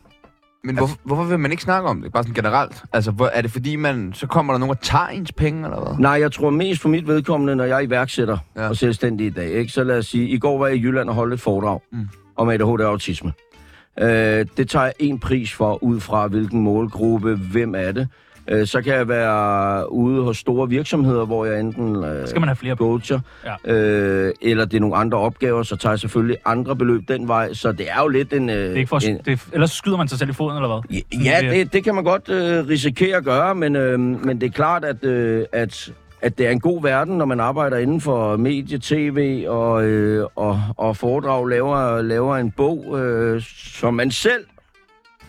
Men hvor, hvorfor vil man ikke snakke om det? Bare sådan generelt. Altså, hvor, er det fordi, man, så kommer der nogen og tager ens penge, eller hvad? Nej, jeg tror mest for mit vedkommende, når jeg er iværksætter Ja. ja. og selvstændig i dag. Ikke? Så lad os sige, i går var jeg i Jylland og holdt et foredrag Mm. mm. om ADHD og autisme. Øh, det tager jeg en pris for, ud fra hvilken målgruppe, hvem er det. Øh, så kan jeg være ude hos store virksomheder, hvor jeg enten... Øh, Skal man have flere på? coacher, ja. øh, eller det er nogle andre opgaver, så tager jeg selvfølgelig andre beløb den vej, så det er jo lidt en... Øh, Det er ikke for, en, at- det er, ellers skyder man sig selv i foden, eller hvad? Ja, det, det kan man godt øh, risikere at gøre, men, øh, men det er klart, at, øh, at, at det er en god verden, når man arbejder inden for medie, tv og, øh, og, og foredrag, laver, laver en bog, øh, som man selv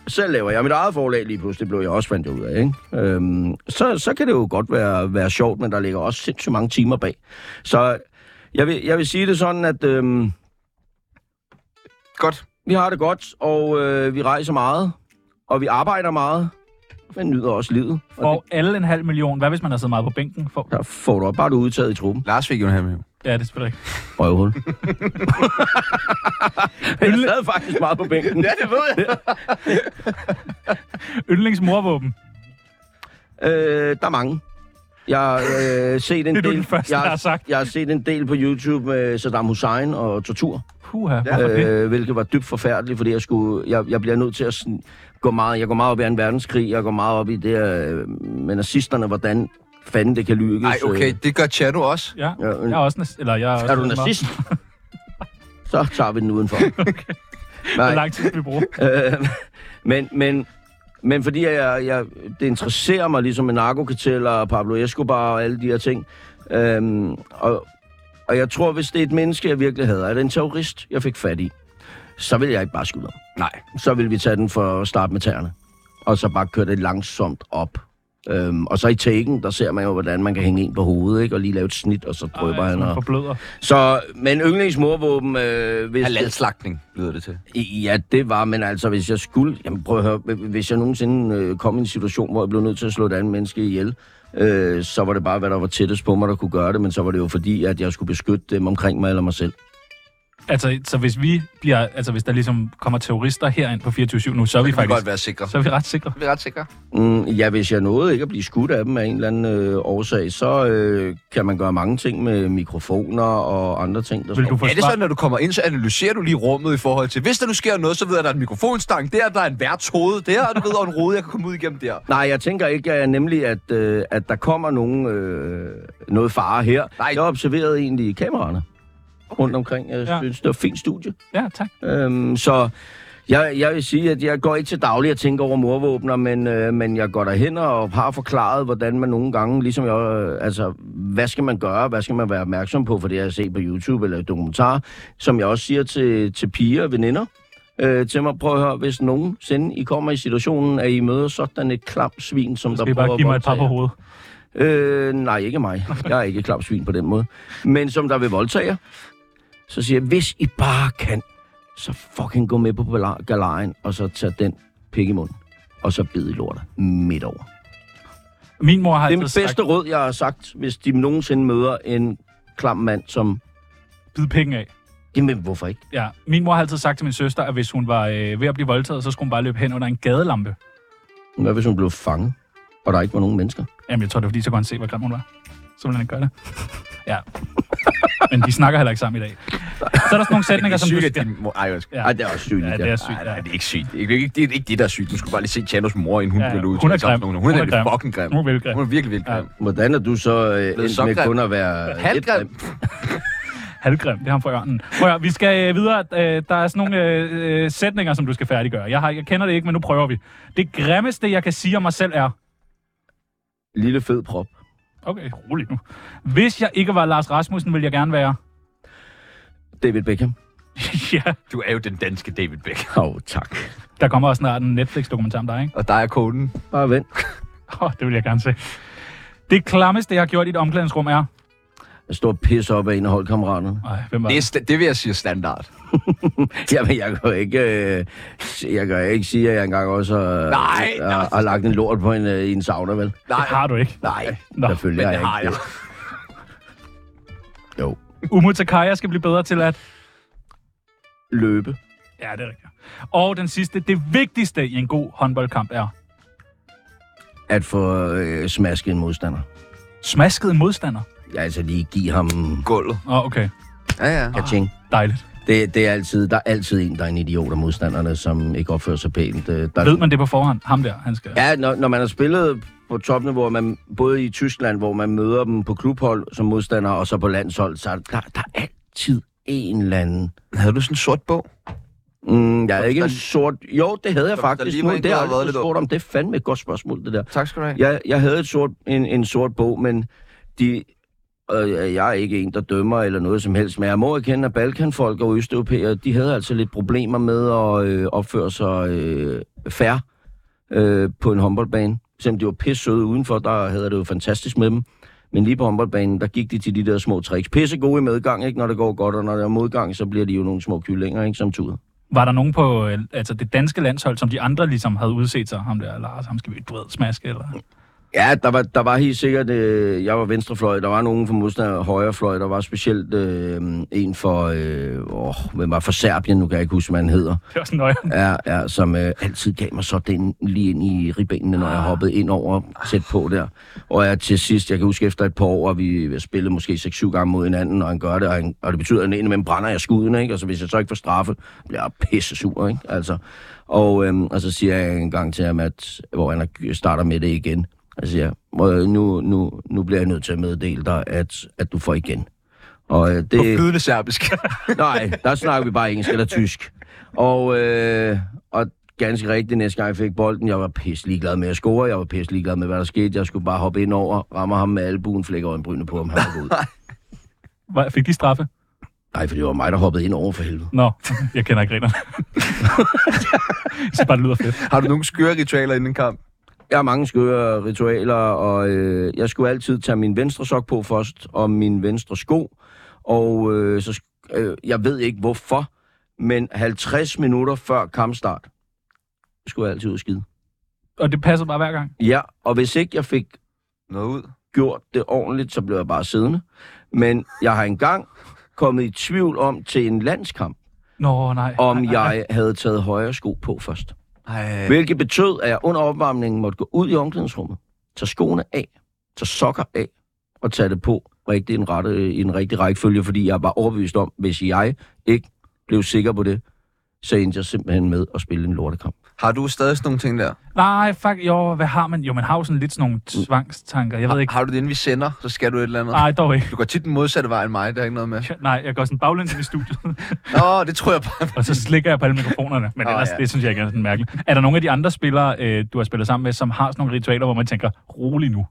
selv laver jeg mit eget forlag lige pludselig, det blev jeg også fandt jeg ud af, ikke? Øhm, så, så kan det jo godt være, være sjovt, men der ligger også sindssygt mange timer bag. Så jeg vil, jeg vil sige det sådan, at øhm, Godt. vi har det godt, og øh, vi rejser meget, og vi arbejder meget, men nyder også livet. Og Og alle en halv million. Hvad hvis man har siddet meget på bænken? For... det, der får du bare du er udtaget i truppen. Lars fik jo en halv million. Ja, det spiller ikke. Røvhul. jeg sad faktisk meget på bænken. ja, det ved jeg. Yndlingsmorvåben. Øh, der er mange. Jeg har øh, set en Det er du del... den første, jeg, der har sagt. Jeg har set en del på YouTube med Saddam Hussein og tortur, Puha, hvorfor det? øh, hvilket var dybt forfærdeligt, fordi jeg, skulle, jeg, jeg bliver nødt til at sådan, gå meget... Jeg går meget op i en verdenskrig, jeg går meget op i det øh, med nazisterne, hvordan fanden det kan lykkes. Nej, okay, øh. det gør Chado også. Ja, Ja, øh, jeg er også næst... Eller jeg er, også Er du meget- nazist? Så tager vi den udenfor. okay. Hvor Nej, lang tid skal vi bruge? Øh, men, men, men fordi jeg, jeg, det interesserer mig ligesom med narkokarteller og Pablo Escobar og alle de her ting. Øhm, og, og jeg tror, hvis det er et menneske, jeg virkelig havde, er det en terrorist, jeg fik fat i, så vil jeg ikke bare skyde ham. Nej. Så vil vi tage den for at starte med tæerne. Og så bare køre det langsomt op. Øhm, og så i taken, der ser man jo, hvordan man kan hænge en på hovedet, ikke? og lige lave et snit, og så drøber Ej, han. sådan Og... forbløder. Så, men yndlingsmorvåben... Øh, hvis... Halalslagtning, lyder det til. Ja, det var, men altså, hvis jeg skulle... Jamen, prøv at høre, hvis jeg nogensinde øh, kom i en situation, hvor jeg blev nødt til at slå et andet menneske ihjel, øh, så var det bare, hvad der var tættest på mig, der kunne gøre det, men så var det jo fordi, at jeg skulle beskytte dem omkring mig eller mig selv. Altså, så hvis vi bliver... Altså, hvis der ligesom kommer terrorister herind på 24-7 nu, så er vi Vi kan faktisk... godt være sikre. Så er vi ret sikre. Vi er ret sikre. Mm, ja, hvis jeg nåede ikke at blive skudt af dem af en eller anden øh, årsag, så øh, kan man gøre mange ting med mikrofoner og andre ting, der Vil du står- Er det forsvare... sådan, når du kommer ind, så analyserer du lige rummet i forhold til, hvis der nu sker noget, så ved jeg, at der er en mikrofonstang der, der er en værts hoved der, og du ved, og en rode, jeg kan komme ud igennem der. Nej, jeg tænker ikke at nemlig, at, øh, at der kommer nogen, øh, noget fare her. Nej. Jeg observerede egentlig kameraerne rundt omkring. Jeg Ja. synes, det var et fint studie. Ja, tak. Øhm, så jeg, jeg vil sige, at jeg går ikke til daglig at tænke over morvåbner, men, øh, men jeg går derhen og har forklaret, hvordan man nogle gange, ligesom jeg, øh, altså, hvad skal man gøre, hvad skal man være opmærksom på, for det har jeg set på YouTube eller i dokumentar, som jeg også siger til, til piger og veninder, øh, til mig, prøv at høre, hvis nogensinde I kommer i situationen, at I møder sådan et klam svin, som der Skal I bare prøver give mig et voldtage par på jer. hovedet? Øh, nej, ikke mig. Jeg er ikke et klamt svin på den måde. Men som der vil voldtage jer, så siger jeg, hvis I bare kan, så fucking gå med på gala- galejen, og så tage den pik i munden, og så bide i lortet midt over. Min mor har Det er altid mit sagt, bedste råd, jeg har sagt, hvis de nogensinde møder en klam mand, som... bid penge af. Jamen, hvorfor ikke? Ja, min mor har altid sagt til min søster, at hvis hun var øh, ved at blive voldtaget, så skulle hun bare løbe hen under en gadelampe. Hvad hvis hun blev fanget, og der ikke var nogen mennesker? Jamen, jeg tror, det var fordi, så kunne han se, hvor grim hun var. Så ville han ikke gøre det. Ja. Men de snakker heller ikke sammen i dag. Så er der sådan nogle sætninger, som du sygt, at skal... din mor... Ej, undskyld. Ja. Ej, det er også sygt. Ja, det er sygt, Ej, ja. nej, det er ikke sygt. Det er ikke, det, er ikke det, der er sygt. Du skulle bare lige se Chanos mor, inden hun Ja, ja, blev hun er ud til grim. Hun, hun er, nemlig fucking grim. Hun er vildt grim. Hun er virkelig vildt Ja. grim. Hvordan er du så øh, endt så med grim. kun at være... Altså, Halvgrim. lidt Halvgrim, det er ham fra ørnen. Prøv at, høre, vi skal øh, videre. Øh, der er sådan nogle øh, øh, sætninger, som du skal færdiggøre. Jeg, har, jeg kender det ikke, men nu prøver vi. Det grimmeste, jeg kan sige om mig selv er... Lille fed prop. Okay, rolig nu. Hvis jeg ikke var Lars Rasmussen, ville jeg gerne være... David Beckham. ja, Du er jo den danske David Beckham. Åh, oh, tak. der kommer også snart en Netflix-dokumentar om dig, ikke? Og der er koden. Bare vent. Åh, oh, det vil jeg gerne se. Det klammeste, jeg har gjort i et omklædningsrum er... Jeg står og pisser op af en af holdkammeraterne. Ej, hvem var Det, det? er sta- det vil jeg sige er standard. Jamen, jeg kan jo ikke, øh, s- jeg kan jo ikke sige, at jeg engang også har, Nej, har, har lagt en lort på en, øh, i en sauna, vel? Det har du ikke. Nej, Nå, Men selvfølgelig har det jeg har ikke jeg. det. Jo, Umutakaya skal blive bedre til at... løbe. Ja, det er rigtigt. Og den sidste, det vigtigste i en god håndboldkamp er... At få øh, smasket en modstander. Smasket en modstander. Ja, altså lige give ham Gulvet. Åh, oh, okay. Ja, ja. kaching. Dejligt. Det, det er altid, der er altid en, der er en idiot af modstanderne, som ikke opfører sig pænt. Øh, Der, Ved man det på forhånd? Ham der, han skal... Ja, når, når man har spillet på topniveau, og man, både i Tyskland, hvor man møder dem på klubhold som modstandere, og så på landshold, så er der, der, der er altid en eller anden. Havde du sådan en sort bog? Mm, jeg er ikke en der- sort... Jo, det havde jeg Som der faktisk lige nu. var en, Det der har havde været jeg lidt lidt spurgt om. Det er fandme et godt spørgsmål, det der. Tak skal du have. Jeg, jeg havde et sort, en, en sort bog, men de, øh, jeg er ikke en, der dømmer eller noget som helst, men jeg må erkende, at balkanfolk og østeuropæere, de havde altså lidt problemer med at øh, opføre sig øh, fair øh, på en håndboldbane. Selvom de var pisse søde udenfor, der havde det jo fantastisk med dem. Men lige på håndboldbanen, der gik de til de der små tricks. Pisse gode i medgang, ikke, når det går godt, og når der er modgang, så bliver de jo nogle små kyllinger, ikke, som tuder. Var der nogen på øh, altså det danske landshold, som de andre ligesom havde udset sig? Ham der, Lars, ham skal vi du ved, smaske, eller... Ja, der var, der var helt sikkert, øh, jeg var venstrefløj, der var nogen fra modstander højrefløj, der var specielt øh, en for, øh, åh, hvem var for Serbien, nu kan jeg ikke huske, hvad han hedder, Det var sådan nøje. ja, ja, som øh, altid gav mig så den lige ind i ribbenene, når jeg hoppede ind over tæt på der. Og jeg til sidst, jeg kan huske efter et par år, at vi spillede måske 6-7 gange mod hinanden, og han gør det, og, han, og det betyder, at han indimellem brænder jeg skuden, ikke? Og så hvis jeg så ikke får straffe, bliver jeg pisse sur, ikke? Altså, og, øhm, og så siger jeg en gang til ham, at, hvor han er- starter med det igen, og så siger, jeg, "Må jeg- nu, nu, nu bliver jeg nødt til at meddele dig, at, at du får igen. Og øh, På det, flydende serbisk. Nej, der snakker vi bare engelsk eller tysk. Og, øh, og ganske rigtigt, næste gang jeg fik bolden, jeg var pisse ligeglad med at score, jeg var pisse ligeglad med, hvad der skete. Jeg skulle bare hoppe ind over, rammer ham med albuen, flækker øjenbrynet på ham, han var ud. Var- Fik de straffe? Nej, for det var mig, der hoppede ind over for helvede. Nå, okay. jeg kender ikke reglerne. jeg synes bare, det lyder fedt. Har du nogle skøre ritualer inden en kamp? Jeg har mange skøre ritualer, og øh, jeg skulle altid tage min venstre sok på først, og min venstre sko. Og øh, så, sk- øh, jeg ved ikke hvorfor, men 50 minutter før kampstart, skulle jeg altid ud og skide. Og det passede bare hver gang. Ja, og hvis ikke jeg fik Noget ud? gjort det ordentligt, så blev jeg bare siddende. Men jeg har engang kommet i tvivl om til en landskamp, Nå, nej. om nej, nej, nej. jeg havde taget højre sko på først. Ej. Hvilket betød, at jeg under opvarmningen måtte gå ud i omklædningsrummet, tage skoene af, tage sokker af og tage det på rigtig en rette, i en rigtig rækkefølge, fordi jeg var overbevist om, hvis jeg ikke blev sikker på det, så endte jeg simpelthen med at spille en lortekamp. Har du stadig sådan nogle ting der? Nej, fuck, jo, hvad har man? Jo, man har jo sådan lidt sådan nogle tvangstanker. Jeg ved ikke. Ah. Har du det, inden vi sender, så skal du et eller andet? Nej, dog ikke. Du går tit den modsatte vej end mig, der er ikke noget med. Nej, jeg går sådan baglæns ind i studiet, Nå, det tror jeg bare. og så slikker jeg på alle mikrofonerne. Men Åh, ellers, ja. det synes jeg ikke er sådan mærkeligt. Er der nogle af de andre spillere, øh, du har spillet sammen med, som har sådan nogle ritualer, hvor man tænker, rolig nu?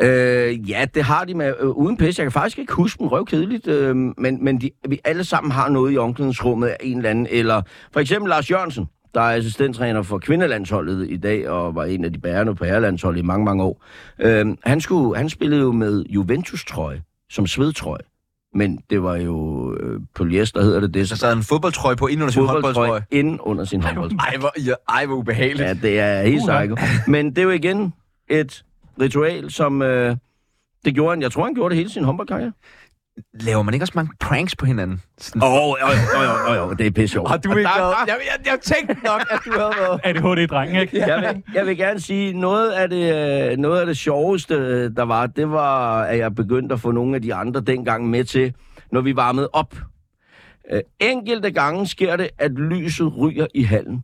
Øh, ja, det har de med øh, uden pis. Jeg kan faktisk ikke huske dem røvkedeligt, øh, men, men de, vi alle sammen har noget i omklædningsrummet af en eller anden. Eller for eksempel Lars Jørgensen, der er assistenttræner for kvindelandsholdet i dag, og var en af de bærende på herrelandsholdet i mange, mange år. Øh, han, skulle, han spillede jo med Juventus-trøje, som svedtrøje. Men det var jo øh, polyester, hedder det det. Så sad han en fodboldtrøje på ind under sin Altså, håndboldtrøje. fodboldtrøje ind under sin håndboldtrøje. Ej, hvor, ja, ej, hvor ubehageligt. Ja, det er helt Uha. psyko. Men det er jo igen et ritual, som... Øh, det gjorde han. Jeg tror, han gjorde det hele sin håndboldkarriere. Laver man ikke også mange pranks på hinanden? Sådan, Åh, oh, oh, oh, oh, oh, det er pisse sjovt. Har du ikke været? Jeg, jeg, jeg tænkte nok, at du havde været. ADHD-dreng, ikke? Jeg vil, jeg vil gerne sige, noget af det, øh, noget af det sjoveste, øh, der var, det var, at jeg begyndte at få nogle af de andre dengang med til, når vi varmede op. Øh, enkelte gange sker det, at lyset ryger i hallen.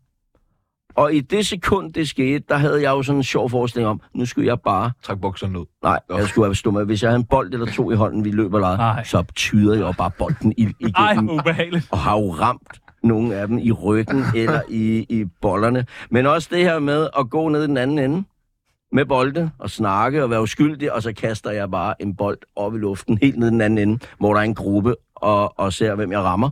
Og i det sekund, det skete, der havde jeg jo sådan en sjov forestilling om, nu skulle jeg bare Træk bukserne ud. Nej, Nå. jeg skulle have stået med. Hvis jeg havde en bold eller to i hånden, vi løber Nej. lejet, så tyder jeg jo bare bolden i, Ej, igennem hvor ubehageligt. og har jo ramt nogle af dem i ryggen eller i, i bollerne. Men også det her med at gå ned i den anden ende med bolde og snakke og være uskyldig, og så kaster jeg bare en bold op i luften helt ned i den anden ende, hvor der er en gruppe og, og ser, hvem jeg rammer.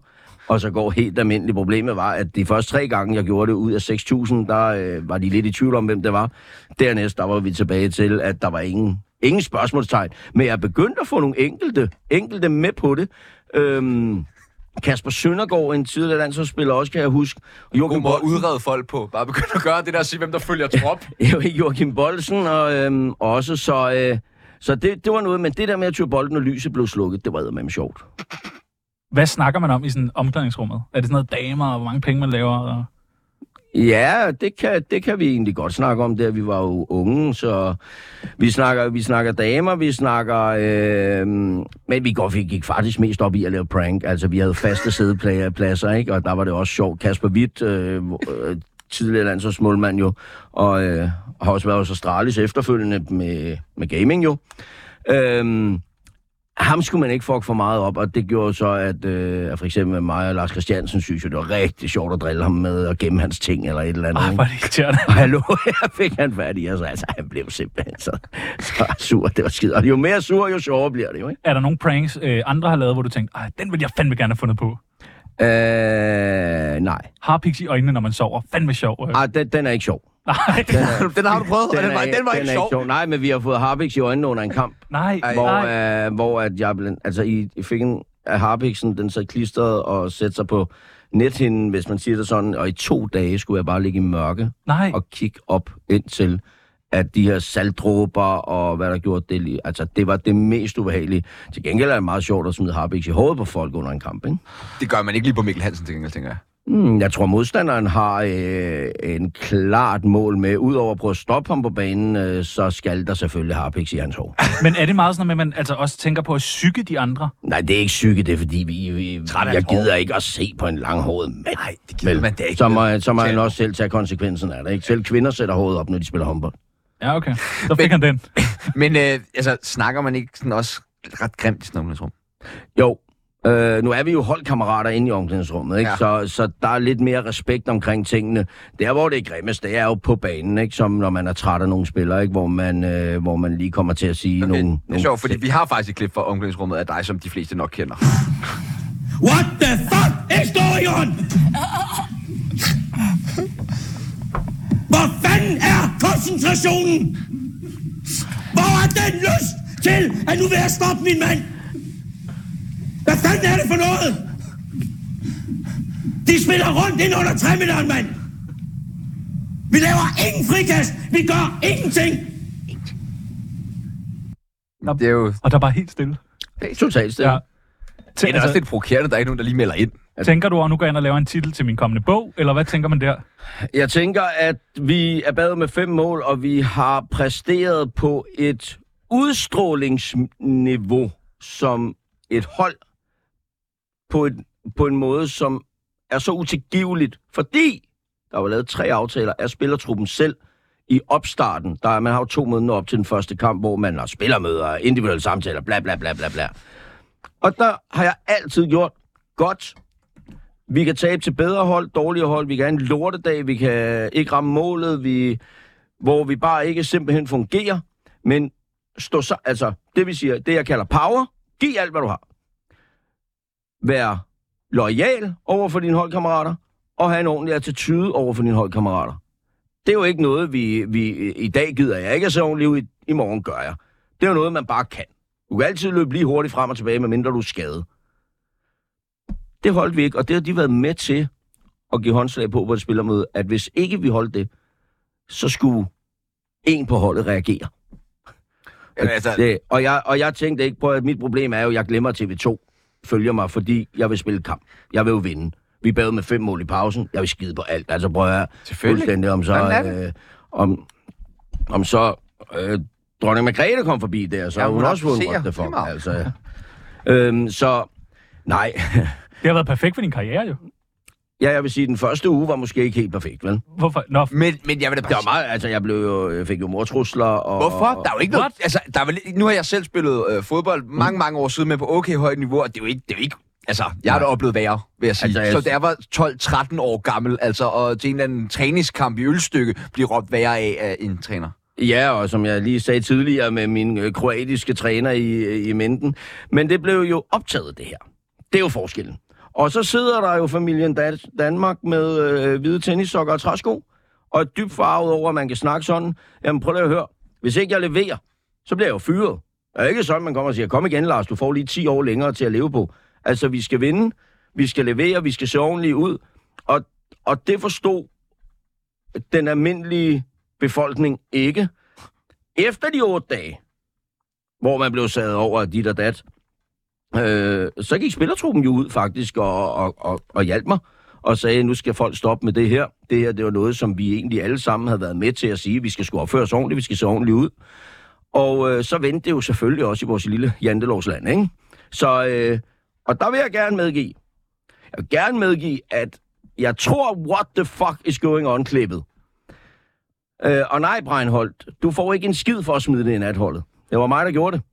Og så går helt almindeligt. Problemet var, at de første tre gange, jeg gjorde det ud af 6.000, der øh, var de lidt i tvivl om, hvem det var. Dernæst, der var vi tilbage til, at der var ingen, ingen spørgsmålstegn. Men jeg begyndte at få nogle enkelte, enkelte med på det. Øhm, Kasper Søndergaard, en tidligere landsholdsspiller også, kan jeg huske. God Joachim måde at Bolsen, udrede folk på. Bare begynde at gøre det der og sige, hvem der følger trop. Joachim Bolsen og, øhm, også, så, øh, så det, det var noget. Men det der med at tyre bolden og lyset blev slukket, det var med sjovt. Hvad snakker man om i sådan omklædningsrummet? Er det sådan noget damer, og hvor mange penge man laver? Og... Ja, det kan, det kan vi egentlig godt snakke om, der vi var jo unge, så vi snakker, vi snakker damer, vi snakker... Øh, men vi, går, vi gik faktisk mest op i at lave prank. Altså, vi havde faste sædepladser, ikke? Og der var det også sjovt. Kasper Witt, øh, øh, tidligere landsholdsmålmand jo, og øh, har også været hos Astralis efterfølgende med, med gaming jo. Øh, ham skulle man ikke fuck for meget op, og det gjorde så, at, øh, at for eksempel mig og Lars Christiansen synes jo, det var rigtig sjovt at drille ham med og gemme hans ting eller et eller andet. Ej, ikke? hvor er det irriterende. Og hallo, jeg fik han fat i, altså, altså han blev simpelthen så, så sur, det var skidt. Og jo mere sur, jo sjovere bliver det jo, ikke? Er der nogle pranks, øh, andre har lavet, hvor du tænkte, Ej, den vil jeg fandme gerne have fundet på? Øh, nej. Harpiks i øjnene, når man sover. Fandme sjov. Øh. Ej, den, den er ikke sjov. Nej, den har du prøvet, og den var, den var er ikke sjov. Nej, men vi har fået Harpiks i øjnene under en kamp, nej, hvor, nej. øh, hvor at jeg blandt, altså, I, I fik en af Harpiksen, den sad klistret og satte sig på nethinden, hvis man siger det sådan, og i to dage skulle jeg bare ligge i mørke nej. og kigge op indtil at de her saltdråber og hvad der gjorde det lige. Altså, det var det mest ubehagelige. Til gengæld er det meget sjovt at smide harpiks i hovedet på folk under en kamp, ikke? Det gør man ikke lige på Mikkel Hansen, til gengæld, tænker jeg. Mm, jeg tror, modstanderen har øh, en klart mål med, udover at prøve at stoppe ham på banen, øh, så skal der selvfølgelig harpiks i hans hår. Men er det meget sådan, at man altså også tænker på at psyke de andre? Nej, det er ikke psyke, det er fordi, vi, vi, Træt af jeg hans hår. gider ikke at se på en langhåret mand. Nej, det gider man da ikke. Så må, så må han Tag- også selv tage konsekvensen af det, ikke? Selv kvinder sætter hovedet op, når de spiller håndbold. Ja, okay. Så fik han den. Men øh, altså, snakker man ikke sådan også ret grimt i sådan noget, rum? Jo. Øh, nu er vi jo holdkammerater inde i omklædningsrummet, ikke? Ja. Ja. Så, så der er lidt mere respekt omkring tingene. Der, hvor det er grimmest, det er jo på banen, ikke? Som når man er træt af nogle spillere, ikke? Hvor man, øh, hvor man lige kommer til at sige okay. nogle... Det er sjovt, fordi vi har faktisk et klip fra omklædningsrummet af dig, som de fleste nok kender. What the fuck is going on? Hvor fanden er koncentrationen? Hvor er den lyst til, at nu vil jeg stoppe min mand? Hvad fanden er det for noget? De spiller rundt ind under træmilleren, mand. Vi laver ingen frikast. Vi gør ingenting. Det er jo det Og der er bare helt stille. Totalt stille. Ja. Ja. Tæ- altså, er da Altså- også lidt provokerende, at der er ikke nogen, der lige melder ind. tænker du, at nu går jeg ind og laver en titel til min kommende bog, eller hvad tænker man der? Jeg tænker, at vi er badet med fem mål, og vi har præsteret på et udstrålingsniveau som et hold på, et, på en måde, som er så utilgiveligt, fordi der var lavet tre aftaler af spillertruppen selv i opstarten. Der, er- man har jo to møder op til den første kamp, hvor man har spillermøder, individuelle samtaler, bla bla bla bla bla. Og der har jeg altid gjort godt, vi kan tabe til bedre hold, dårligere hold, vi kan have en lortedag, vi kan ikke ramme målet, vi, hvor vi bare ikke simpelthen fungerer, men stå så, altså det vi siger, det jeg kalder power, giv alt hvad du har. Vær lojal over for dine holdkammerater, og have en ordentlig attitude over for dine holdkammerater. Det er jo ikke noget, vi, vi i dag gider jeg ikke at se ordentligt ud, i, i morgen gør jeg. Det er jo noget, man bare kan. Du kan altid løbe lige hurtigt frem og tilbage, medmindre du er skadet. Det holdt vi ikke, og det har de været med til at give håndslag på på et spillermøde, at hvis ikke vi holdt det, så skulle en på holdet reagere. Jamen, altså, Det, og, jeg, og jeg tænkte ikke på, at mit problem er jo, at jeg glemmer at TV2, følger mig, fordi jeg vil spille kamp. Jeg vil jo vinde. Vi bad med fem mål i pausen. Jeg vil skide på alt. Altså prøv at høre, Selvfølgelig. fuldstændig om Sådan er så... det. Øh, om, om så... Øh, dronning Margrethe kom forbi der, så Ja, ja, hun hun, hun også fået en appelserer. what the fuck. Det er meget. Altså, øhm, så... Nej. Det har været perfekt for din karriere, jo. Ja, jeg vil sige, at den første uge var måske ikke helt perfekt, vel? Hvorfor? Nå, f- Men, men jeg vil da Det bare var meget, altså jeg, blev jo, jeg fik jo mortrusler og... Hvorfor? Der er jo ikke noget... Altså, der er vel, nu har jeg selv spillet øh, fodbold Mm. mange, mange år siden, men på okay højt niveau, og det er jo ikke... Det er jo ikke altså, jeg har da oplevet værre, vil jeg sige. Altså, Altså, jeg- jeg... Så da jeg var 12-13 år gammel, altså, og til en eller anden træningskamp i ølstykke, blev råbt værre af, af en træner. Ja, og som jeg lige sagde tidligere med min øh, kroatiske træner i, i Minden. Men det blev jo optaget, det her. Det er jo forskellen. Og så sidder der jo familien Dan- Danmark med øh, hvide tennissokker og træsko, og er dybt farvet over, at man kan snakke sådan. Jamen prøv lige at høre. Hvis ikke jeg leverer, så bliver jeg jo fyret. Det er ikke sådan, man kommer og siger, kom igen Lars, du får lige 10 år længere til at leve på. Altså, vi skal vinde, vi skal levere, vi skal se ordentligt ud. Og, og det forstod den almindelige befolkning ikke. Efter de otte dage, hvor man blev sad over af dit og dat, øh, så gik spillertruppen jo ud faktisk og, og, og, og hjalp mig og sagde, nu skal folk stoppe med det her. Det her, det var noget, som vi egentlig alle sammen havde været med til at sige, vi skal sgu opføre os ordentligt, vi skal se ordentligt ud. Og øh, så vendte det jo selvfølgelig også i vores lille jantelovsland, ikke? Så, øh, og der vil jeg gerne medgive, jeg vil gerne medgive, at jeg tror, what the fuck is going on klippet. Øh, og nej, Breinholt, du får ikke en skid for at smide det i natholdet. Det var mig, der gjorde det.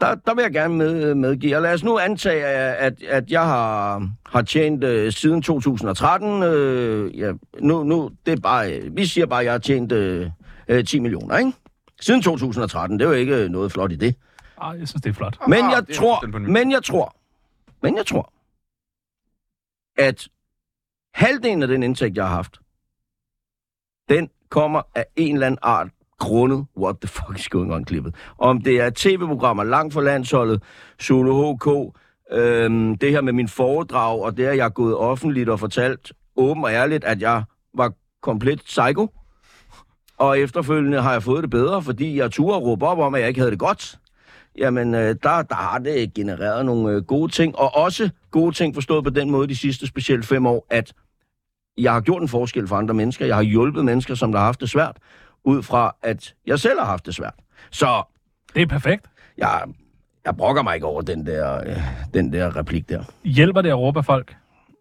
Der, der vil jeg gerne med, medgive. Og lad os nu antage, at, at jeg har, har tjent øh, siden 2013. Øh, ja, nu, nu, det er bare, øh, vi siger bare, at jeg har tjent øh, øh, 10 millioner, ikke? Siden 2013. Det er jo ikke øh, noget flot i det. ej, jeg synes, det er flot. Men Ah, jeg det er den tror, på ny. men jeg tror, men jeg tror, at halvdelen af den indtægt, jeg har haft, den kommer af en eller anden art grundet what the fuck is going on klippet. Om det er tv-programmer langt for landsholdet, Solo HK, øhm, det her med min foredrag, og det, at jeg er gået offentligt og fortalt åben og ærligt, at jeg var komplet psyko. Og efterfølgende har jeg fået det bedre, fordi jeg turde råbe op om, at jeg ikke havde det godt jamen øh, der, der har det genereret nogle øh, gode ting, og også gode ting forstået på den måde de sidste specielt fem år, at jeg har gjort en forskel for andre mennesker. Jeg har hjulpet mennesker, som der har haft det svært, ud fra at jeg selv har haft det svært. Så Det er perfekt. jeg, jeg brokker mig ikke over den der, øh, den der replik der. Hjælper det at råbe af folk?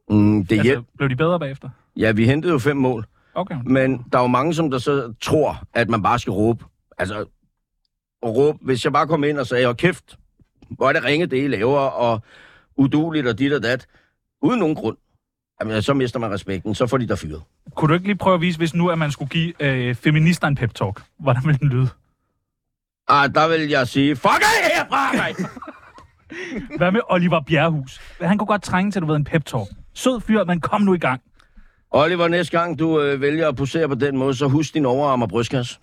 Mm, Altså- det hjælp. blev de bedre bagefter? Ja, vi hentede jo fem mål. Okay. Men der er jo mange, som der så tror, at man bare skal råbe. Altså, at råbe. Hvis jeg bare kom ind og sagde, og kæft, hvor er det ringe, det I laver, og uduligt og dit og dat, uden nogen grund, jamen, så mister man respekten, så får de der fyret. Kunne du ikke lige prøve at vise, hvis nu, at man skulle give øh, feminister en pep-talk? Hvordan ville den lyde? Ah, der vil jeg sige, fuck af herfra, mand! Hvad med Oliver Bjerrehus? Han kunne godt trænge til, du ved, en pep-talk. Sød fyr, men kom nu i gang. Oliver, næste gang du øh, vælger at posere på den måde, så husk din overarm og brystkasse.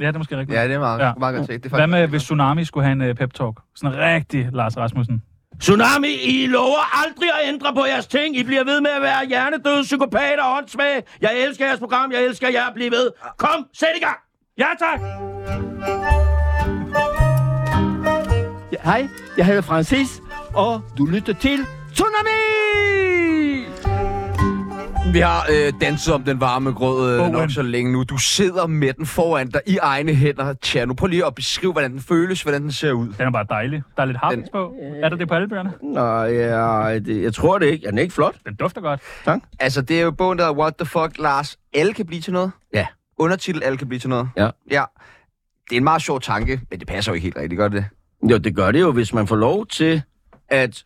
Ja, det er måske rigtigt. Ja, det er meget, Ja. ja. meget godt set. Det er Hvad faktisk... med, hvis Tsunami skulle have en øh, pep-talk? Sådan rigtig Lars Rasmussen. Tsunami, I lover aldrig at ændre på jeres ting. I bliver ved med at være hjernedøde, psykopater og åndssvage. Jeg elsker jeres program, jeg elsker jer. Bliv ved. Kom, sæt i gang! Ja, tak! Ja, hej, jeg hedder Francis, og du lytter til Tsunami! Vi har øh, danset om den varme grød øh, Bowen. nok så længe nu. Du sidder med den foran dig i egne hænder, Tjerno. Prøv lige at beskrive, hvordan den føles, hvordan den ser ud. Den er bare dejlig. Der er lidt harpiks på. Øh. Er der det på alle bøgerne? Nej, ja, det, jeg tror det ikke. Er den ikke flot? Den dufter godt. Altså, det er jo bogen, der hedder What the fuck, Lars. Alle kan blive til noget. Ja. Undertitel, alle kan blive til noget. Ja. Ja. Det er en meget sjov tanke, men det passer jo ikke helt rigtigt godt, det. Jo, det gør det jo, hvis man får lov til at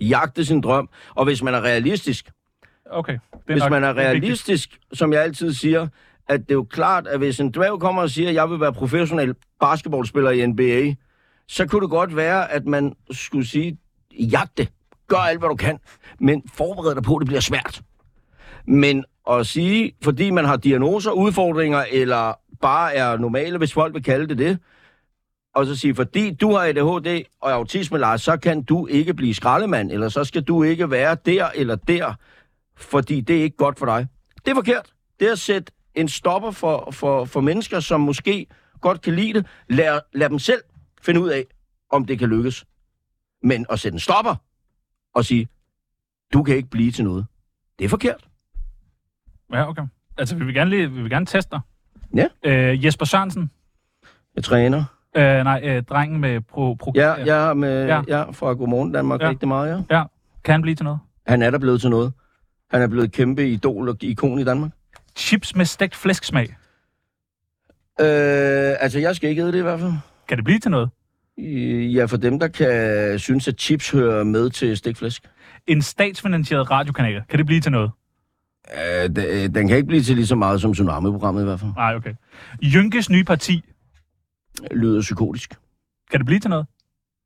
jagte sin drøm, og hvis man er realistisk. Okay. Det er hvis nok- man er det vigtigt. realistisk, som jeg altid siger, at det er jo klart, at hvis en dværg kommer og siger, at jeg vil være professionel basketballspiller i NBA, så kunne det godt være, at man skulle sige, jagt det. Gør alt, hvad du kan. Men forbered dig på, at det bliver svært. Men at sige, fordi man har diagnoser, udfordringer, eller bare er normale, hvis folk vil kalde det det, og så sige, fordi du har ADHD og autisme, Lars, så kan du ikke blive skraldemand, eller så skal du ikke være der eller der fordi det er ikke godt for dig. Det er forkert. Det er at sætte en stopper for, for, for mennesker, som måske godt kan lide det. Lad, lad dem selv finde ud af, om det kan lykkes. Men at sætte en stopper og sige, du kan ikke blive til noget. Det er forkert. Ja, okay. Altså, vi vil gerne, lige, vi vil gerne teste dig. Ja. Øh, Jesper Sørensen. Jeg træner. Øh, nej, øh, drengen med pro... pro Ja, ja, med, Ja. ja. ja fra Godmorgen Danmark Ja. ja. rigtig meget, ja. ja. Kan han blive til noget? Han er der blevet til noget. Han er blevet et kæmpe idol og ikon i Danmark. Chips med stegt flæsksmag. Øh, altså, jeg skal ikke æde det i hvert fald. Kan det blive til noget? Øh, Ja, for dem, der kan synes, at chips hører med til stikflæsk. En statsfinansieret radiokanal. Kan det blive til noget? Øh, d- øh, den kan ikke blive til lige så meget som Tsunami-programmet i hvert fald. Nej, okay. Jynkes nye parti. Lyder psykotisk. Kan det blive til noget?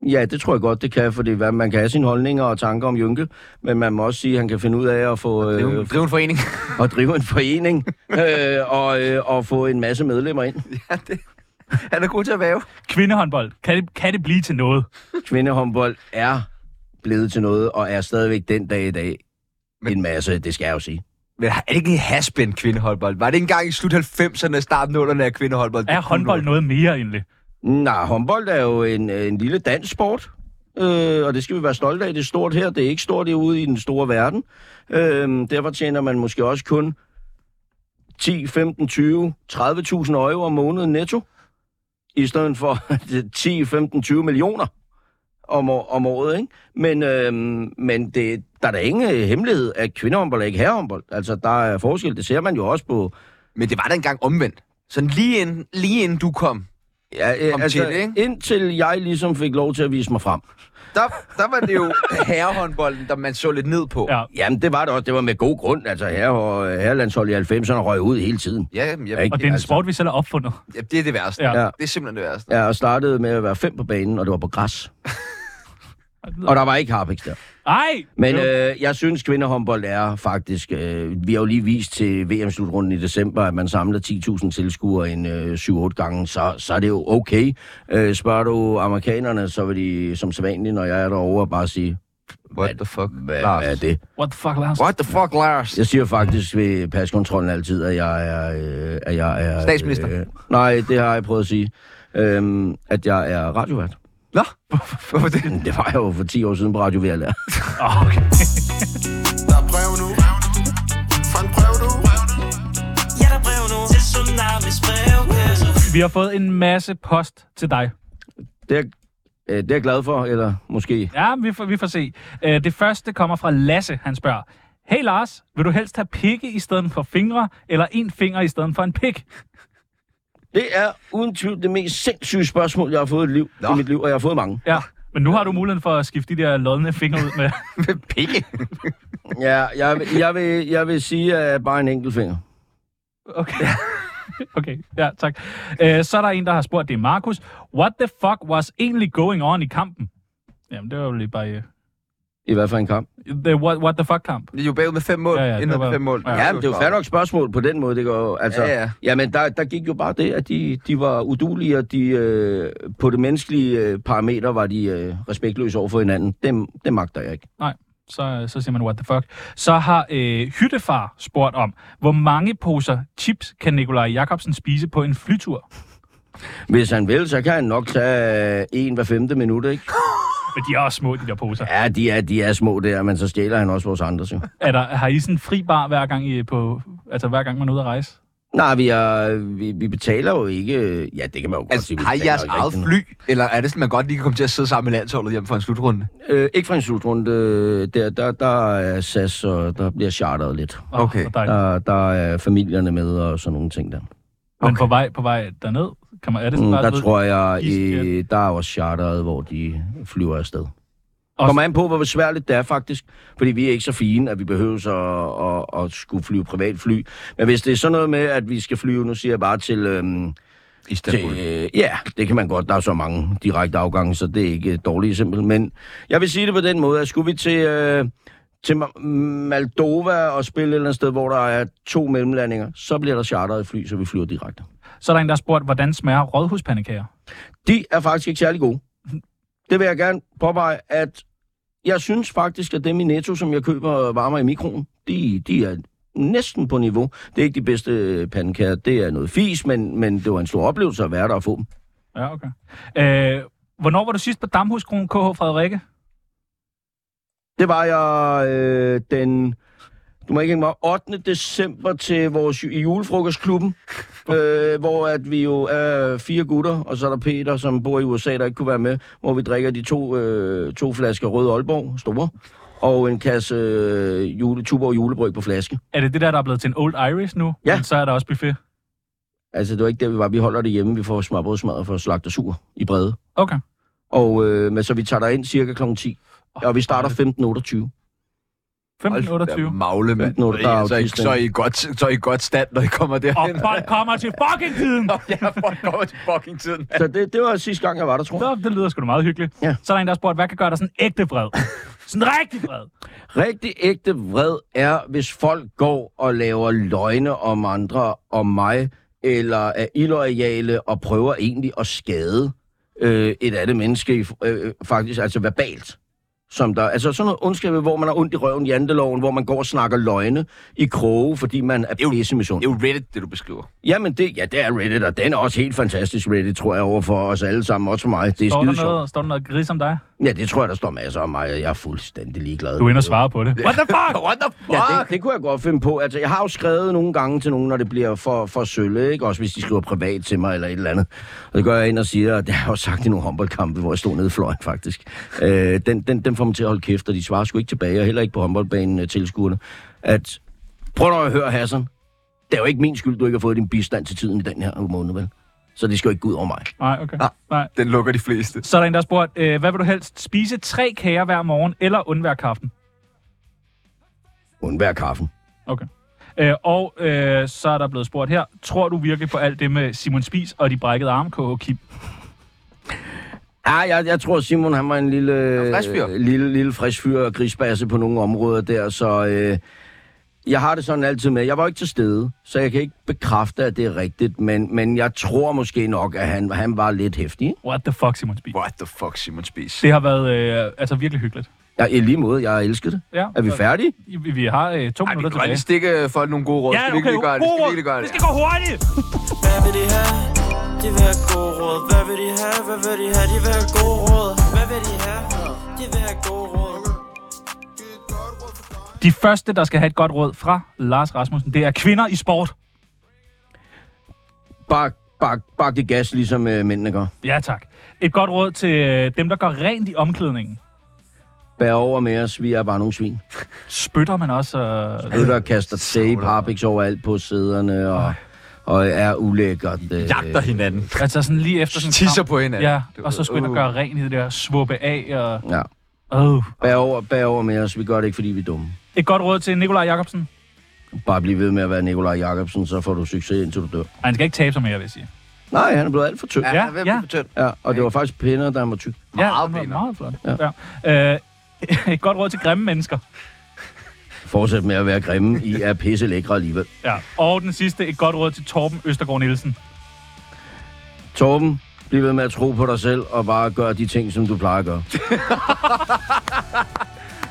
Ja, det tror jeg godt, det kan, fordi hvad, man kan have sine holdninger og tanker om Jynke, men man må også sige, at han kan finde ud af at få... Og drive, øh, drive en forening. og drive en forening, øh, og, øh, og få en masse medlemmer ind. Ja, det, han er god til at væve. Kvindehåndbold. Kan det, kan det blive til noget? Kvindehåndbold er blevet til noget, og er stadigvæk den dag i dag men, en masse, det skal jeg jo sige. Men er det ikke en haspen kvindehåndbold? Var det ikke engang i slut 90'erne, start 0'erne af kvindehåndbold? Er håndbold noget mere egentlig? Nej, håndbold er jo en, øh, en lille dansk sport, øh, og det skal vi være stolte af. Det er stort her, det er ikke stort ude i den store verden. Øh, derfor tjener man måske også kun 10, 15, 20, 30.000 euro om måneden netto, i stedet for 10, 15, 20 millioner om, å- om året. Ikke? Men, øh, men det, der er da ingen øh, hemmelighed, at kvindehåndbold er ikke herrehåndbold. Altså, der er forskel, det ser man jo også på... Men det var da engang omvendt. Sådan lige inden, lige inden du kom, Ja, øh, Kom altså, til det, ikke? indtil jeg ligesom fik lov til at vise mig frem. Der, der var det jo herrehåndbolden, der man så lidt ned på. Ja. Jamen, det var det også. Det var med god grund. Altså, herre og herrelandsholdet i 90'erne røg ud hele tiden. Ja, jamen, jeg, Ikke? Og det er en sport, vi selv har opfundet. ja, det er det værste. Ja. Ja. Det er simpelthen det værste. Altså, Ja, og startede med at være fem på banen, og det var på græs. og der var ikke harpiks der. Ej! Men øh, jeg synes, kvindehåndbold er faktisk... Øh, vi har jo lige vist til VM-slutrunden i december, at man samler 10.000 tilskuere en øh, 7-8 gange, så, så er det jo okay. Øh, spørger du amerikanerne, så vil de som sædvanligt, når jeg er derovre, bare sige... What the fuck, hvad, hvad er det? What the fuck, Lars? What the fuck, Lars? Jeg siger faktisk ved paskontrollen altid, at jeg er... Øh, at jeg er øh, Statsminister. nej, det har jeg prøvet at sige. Øhm, at jeg er radiovært. Nå, hvorfor det? Det var jeg jo for 10 år siden på Radio VLR. Der er brev nu. Fra en brev nu. Ja, der er brev nu til Tsunamis brevkasse. Vi har fået en masse post til dig. Det er, øh, det er jeg glad for, eller måske... Ja, vi får, vi får se. Øh, Det første kommer fra Lasse. Han spørger, Hey Lars, vil du helst have pikke i stedet for fingre, eller en finger i stedet for en pik? Det er uden tvivl det mest sindssyge spørgsmål, jeg har fået i, liv, i mit liv, og jeg har fået mange. Ja, men nu har du muligheden for at skifte de der lodne fingre ud med. Med pikke? ja, jeg, vil- jeg, vil, jeg vil sige, at bare en enkelt finger. Okay. Okay, ja, tak. Øh, Så er der en, der har spurgt, det er Markus. What the fuck was egentlig going on i kampen? Jamen, det var jo lige bare... øh, I hvert fald en kamp. The what, what the fuck kamp? Det er jo bagud med fem mål. Ja, ja, det Inden var- med fem mål. Ja, ja men det er jo fair nok spørgsmål på den måde, det går altså, Ja, ja, ja. ja. Jamen, der, der gik jo bare det, at de, de var udulige, og de, øh, på det menneskelige øh, parameter var de øh, respektløse over for hinanden. Dem, det magter jeg ikke. Nej, så, så siger man what the fuck. Så har øh, Hyttefar spurgt om, hvor mange poser chips kan Nikolaj Jakobsen spise på en flytur? Hvis han vil, så kan han nok tage øh, en hver femte minut, ikke? Men de er også små, de der poser. Ja, de er, de er små der, men så stjæler han også vores andre, jo. Er der, har I sådan en fri bar hver gang, I er på, altså hver gang man er ude at rejse? Nej, vi, er, vi, vi betaler jo ikke... øh, Ja, det kan man jo godt altså, sige. vi Har I betaler jeres ikke eget rigtig fly? Eller er det sådan, man godt lige kan komme til at sidde sammen med landsholdet hjemme fra en slutrunde? noget. Øh, ikke fra en slutrunde. øh, Der, der, der er SAS, og der bliver charteret lidt. Okay. Hvor dejligt. Der, der er familierne med og sådan nogle ting der. Men på vej, på vej derned, kan man, er det sådan Mm, bare, der du ved, tror jeg, øh, iskært? der er også charteret, hvor de flyver afsted. Og kommer an på, hvor besværligt det er faktisk. Fordi vi er ikke så fine, at vi behøver så at, at, at skulle flyve privatfly. Men hvis det er sådan noget med, at vi skal flyve, nu siger jeg bare til... Øhm, Istanbul. Til, øh, ja, det kan man godt. Der er så mange direkte afgange, så det er ikke et dårligt simpelthen. Men jeg vil sige det på den måde, at skulle vi til, øh, til Ma- Moldova og spille et eller andet sted, hvor der er to mellemlandinger, så bliver der charteret fly, så vi flyver direkte. Så er der en, der har spurgt, hvordan smager rådhuspandekager? De er faktisk ikke særlig gode. Det vil jeg gerne påpege, at jeg synes faktisk, at dem i Netto, som jeg køber og varmer i mikroen, de, de er næsten på niveau. Det er ikke de bedste øh, pandekager. Det er noget fis, men, men det var en stor oplevelse at være der og få dem. Ja, okay. Øh, hvornår var du sidst på Damhuskronen KH Frederikke? Det var jeg øh, den Du må ikke hænge mig op. 8. december til vores ju- i julefrokostklubben, øh, hvor at vi jo er fire gutter, og så er der Peter, som bor i USA, der ikke kunne være med, hvor vi drikker de to, øh, to flasker Rød Aalborg, store, og en kasse øh, jule, Tuborg julebryg på flaske. Er det det der, der er blevet til en Old Irish nu? Ja. Men så er der også buffet. Altså, det var ikke der, vi var. Vi holder det hjemme. Vi får smørbrødsmad fra slagter sur i Brede. Okay. Og øh, men så vi tager dig ind cirka kl. 10. Og vi starter 15.28. 1528. Magle, mand. Så er I- så er I- så er I godt, så er I godt stand, når I kommer derhen. Folk kommer til fucking tiden! ja, folk kommer til fucking tiden. Så det, det var sidste gang, jeg var der, tror jeg. Det, det lyder sgu da meget hyggeligt. Ja. Så er der en, der har spurgt, hvad kan gøre dig sådan ægte vred? sådan rigtig vred. Rigtig ægte vred er, hvis folk går og laver løgne om andre, om mig, eller er illoyale og prøver egentlig at skade øh, et andet menneske, øh, faktisk, altså verbalt. Som der, altså sådan noget ondskab, hvor man har ondt i røven, janteloven, hvor man går og snakker løgne i kroge, fordi man er pisse med Det er jo Reddit, det du beskriver. Jamen, det, ja, det er Reddit, og den er også helt fantastisk, Reddit, tror jeg, over for os alle sammen, også for mig. Det er Står skide der, sjovt. noget, står der noget gris om dig? Ja, det tror jeg, der står masser om mig, og jeg er fuldstændig ligeglad. Du er inde og svare på det. What the fuck? What the Ja, det, det kunne jeg godt finde på. Altså, jeg har jo skrevet nogle gange til nogen, når det bliver for, for sølle, ikke? Også hvis de skriver privat til mig eller et eller andet. Og det gør jeg ind og siger, at det har jeg jo sagt i nogle håndboldkampe, hvor jeg stod nede i fløjen, faktisk. Øh, den, den, den får mig til at holde kæft, og de svarer sgu ikke tilbage, og heller ikke på håndboldbanen øh, tilskuerne. At, prøv nu at høre, Hassan. Det er jo ikke min skyld, du ikke har fået din bistand til tiden i den her måned, vel? Så det skal jo ikke gå ud over mig. Nej, okay. Ah, Nej. Den lukker de fleste. Så er der en, der har spurgt, øh, hvad vil du helst? Spise tre kager hver morgen, eller undvære kaffen? Undvær kaffen. Okay. Øh, og øh, så er der blevet spurgt her, tror du virkelig på alt det med Simon Spis og de brækkede arme, KH Kim? Ja, Ah, jeg, jeg tror, Simon han var en lille, frisk fyr. øh, lille, lille frisk fyr og grisbasse på nogle områder der, så øh, jeg har det sådan altid med. Jeg var ikke til stede, så jeg kan ikke bekræfte, at det er rigtigt, men, men jeg tror måske nok, at han, han var lidt hæftig. What the fuck, Simon Spis? What the fuck, Simon Spis? Det har været øh, altså virkelig hyggeligt. Ja, i lige måde, jeg elsker det. Ja. Er vi færdige? Vi, vi har øh, to Ej, Kan minutter tilbage. lige stikke folk nogle gode råd? Ja, Skal vi ikke okay, lige gøre det? gode Skal vi råd. ikke lige gøre det? Det skal gå hurtigt! Hvad vil de have? De vil have gode råd. Hvad vil de have? Hvad vil de have? De vil have gode råd. Hvad vil de have? De vil have gode råd. De første, der skal have et godt råd fra Lars Rasmussen, det er kvinder i sport. Bak, bak, bak det gas, ligesom øh, mændene gør. Ja, tak. Et godt råd til øh, dem, der går rent i omklædningen. Bær over med os, vi er bare nogle svin. Spytter man også... Øh, Du der kaster tape, harpiks overalt på sæderne og, og er ulækkert. Øh, Jagter hinanden. altså sådan lige efter sådan en Tisser kamp. på hinanden. Ja, Du og så ved, skal ind og uh. gøre rent i det der svuppe af. Og... Ja. Oh. Bær, over, bær over med os, vi gør det ikke, fordi vi er dumme. Et godt råd til Nikolaj Jacobsen. Bare bliv ved med at være Nikolaj Jacobsen, så får du succes, indtil du dør. Ej, han skal ikke tabe sig mere, vil jeg sige. Nej, han er blevet alt for tynd. Ja, Ja, han er ja. blevet tynd. Ja, og det var faktisk pinder, der var tyk. Ja, meget, meget, meget flot. Ja. Ja. Øh, et godt råd til grimme mennesker. Fortsæt med at være grimme. I er pisse lækre alligevel. Ja. Og den sidste, et godt råd til Torben Østergaard Nielsen. Torben, bliv ved med at tro på dig selv, og bare gør de ting, som du plejer at gøre.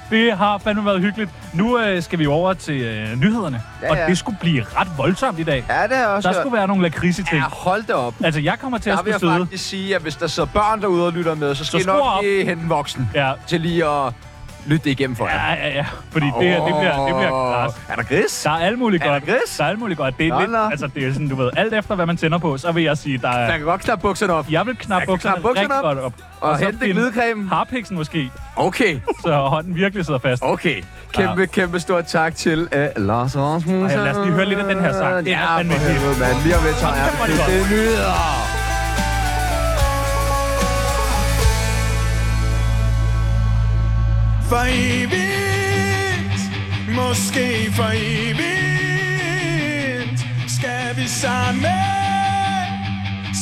Det har fandme været hyggeligt. Nu øh, skal vi over til øh, nyhederne, Ja, ja, og ja. det skulle blive ret voldsomt i dag. Ja, det har jeg også Der hørt. skulle være nogle lakridse-ting. Ja, hold da op. Altså, jeg kommer til at Der vil skulle jeg sidde. faktisk sige, at hvis der sidder børn derude og lytter med, så skal Så I nok skru op. lige hente en voksen ja. til lige at lytte det igennem for jer. Ja, ja, ja. Fordi det her, det bliver, det bliver Åh. græs. Er der gris? Der er alt muligt Er der godt. gris? Der er alt muligt godt. Det er, Nå, lidt, nå. altså, det er sådan, du ved, alt efter, hvad man tænder på, så vil jeg sige, der er... Man kan godt knappe bukserne op. Jeg vil knappe bukserne, knappe bukserne rigtig op, godt op. og så hente finde glidecremen. Harpiksen måske. Okay. Så hånden virkelig sidder fast. Okay. Kæmpe, kæmpe stor tak til uh, Lars Rasmussen. Ej, lad os lige høre lidt af den her sang. Den Ja, er for fandme vild. helvede, mand. Lige om lidt, så Hold er kæft, hvor er det det godt. det nyheder. For evigt, måske for evigt, skal vi samme,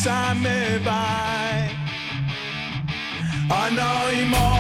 samme vej. Og når i morgen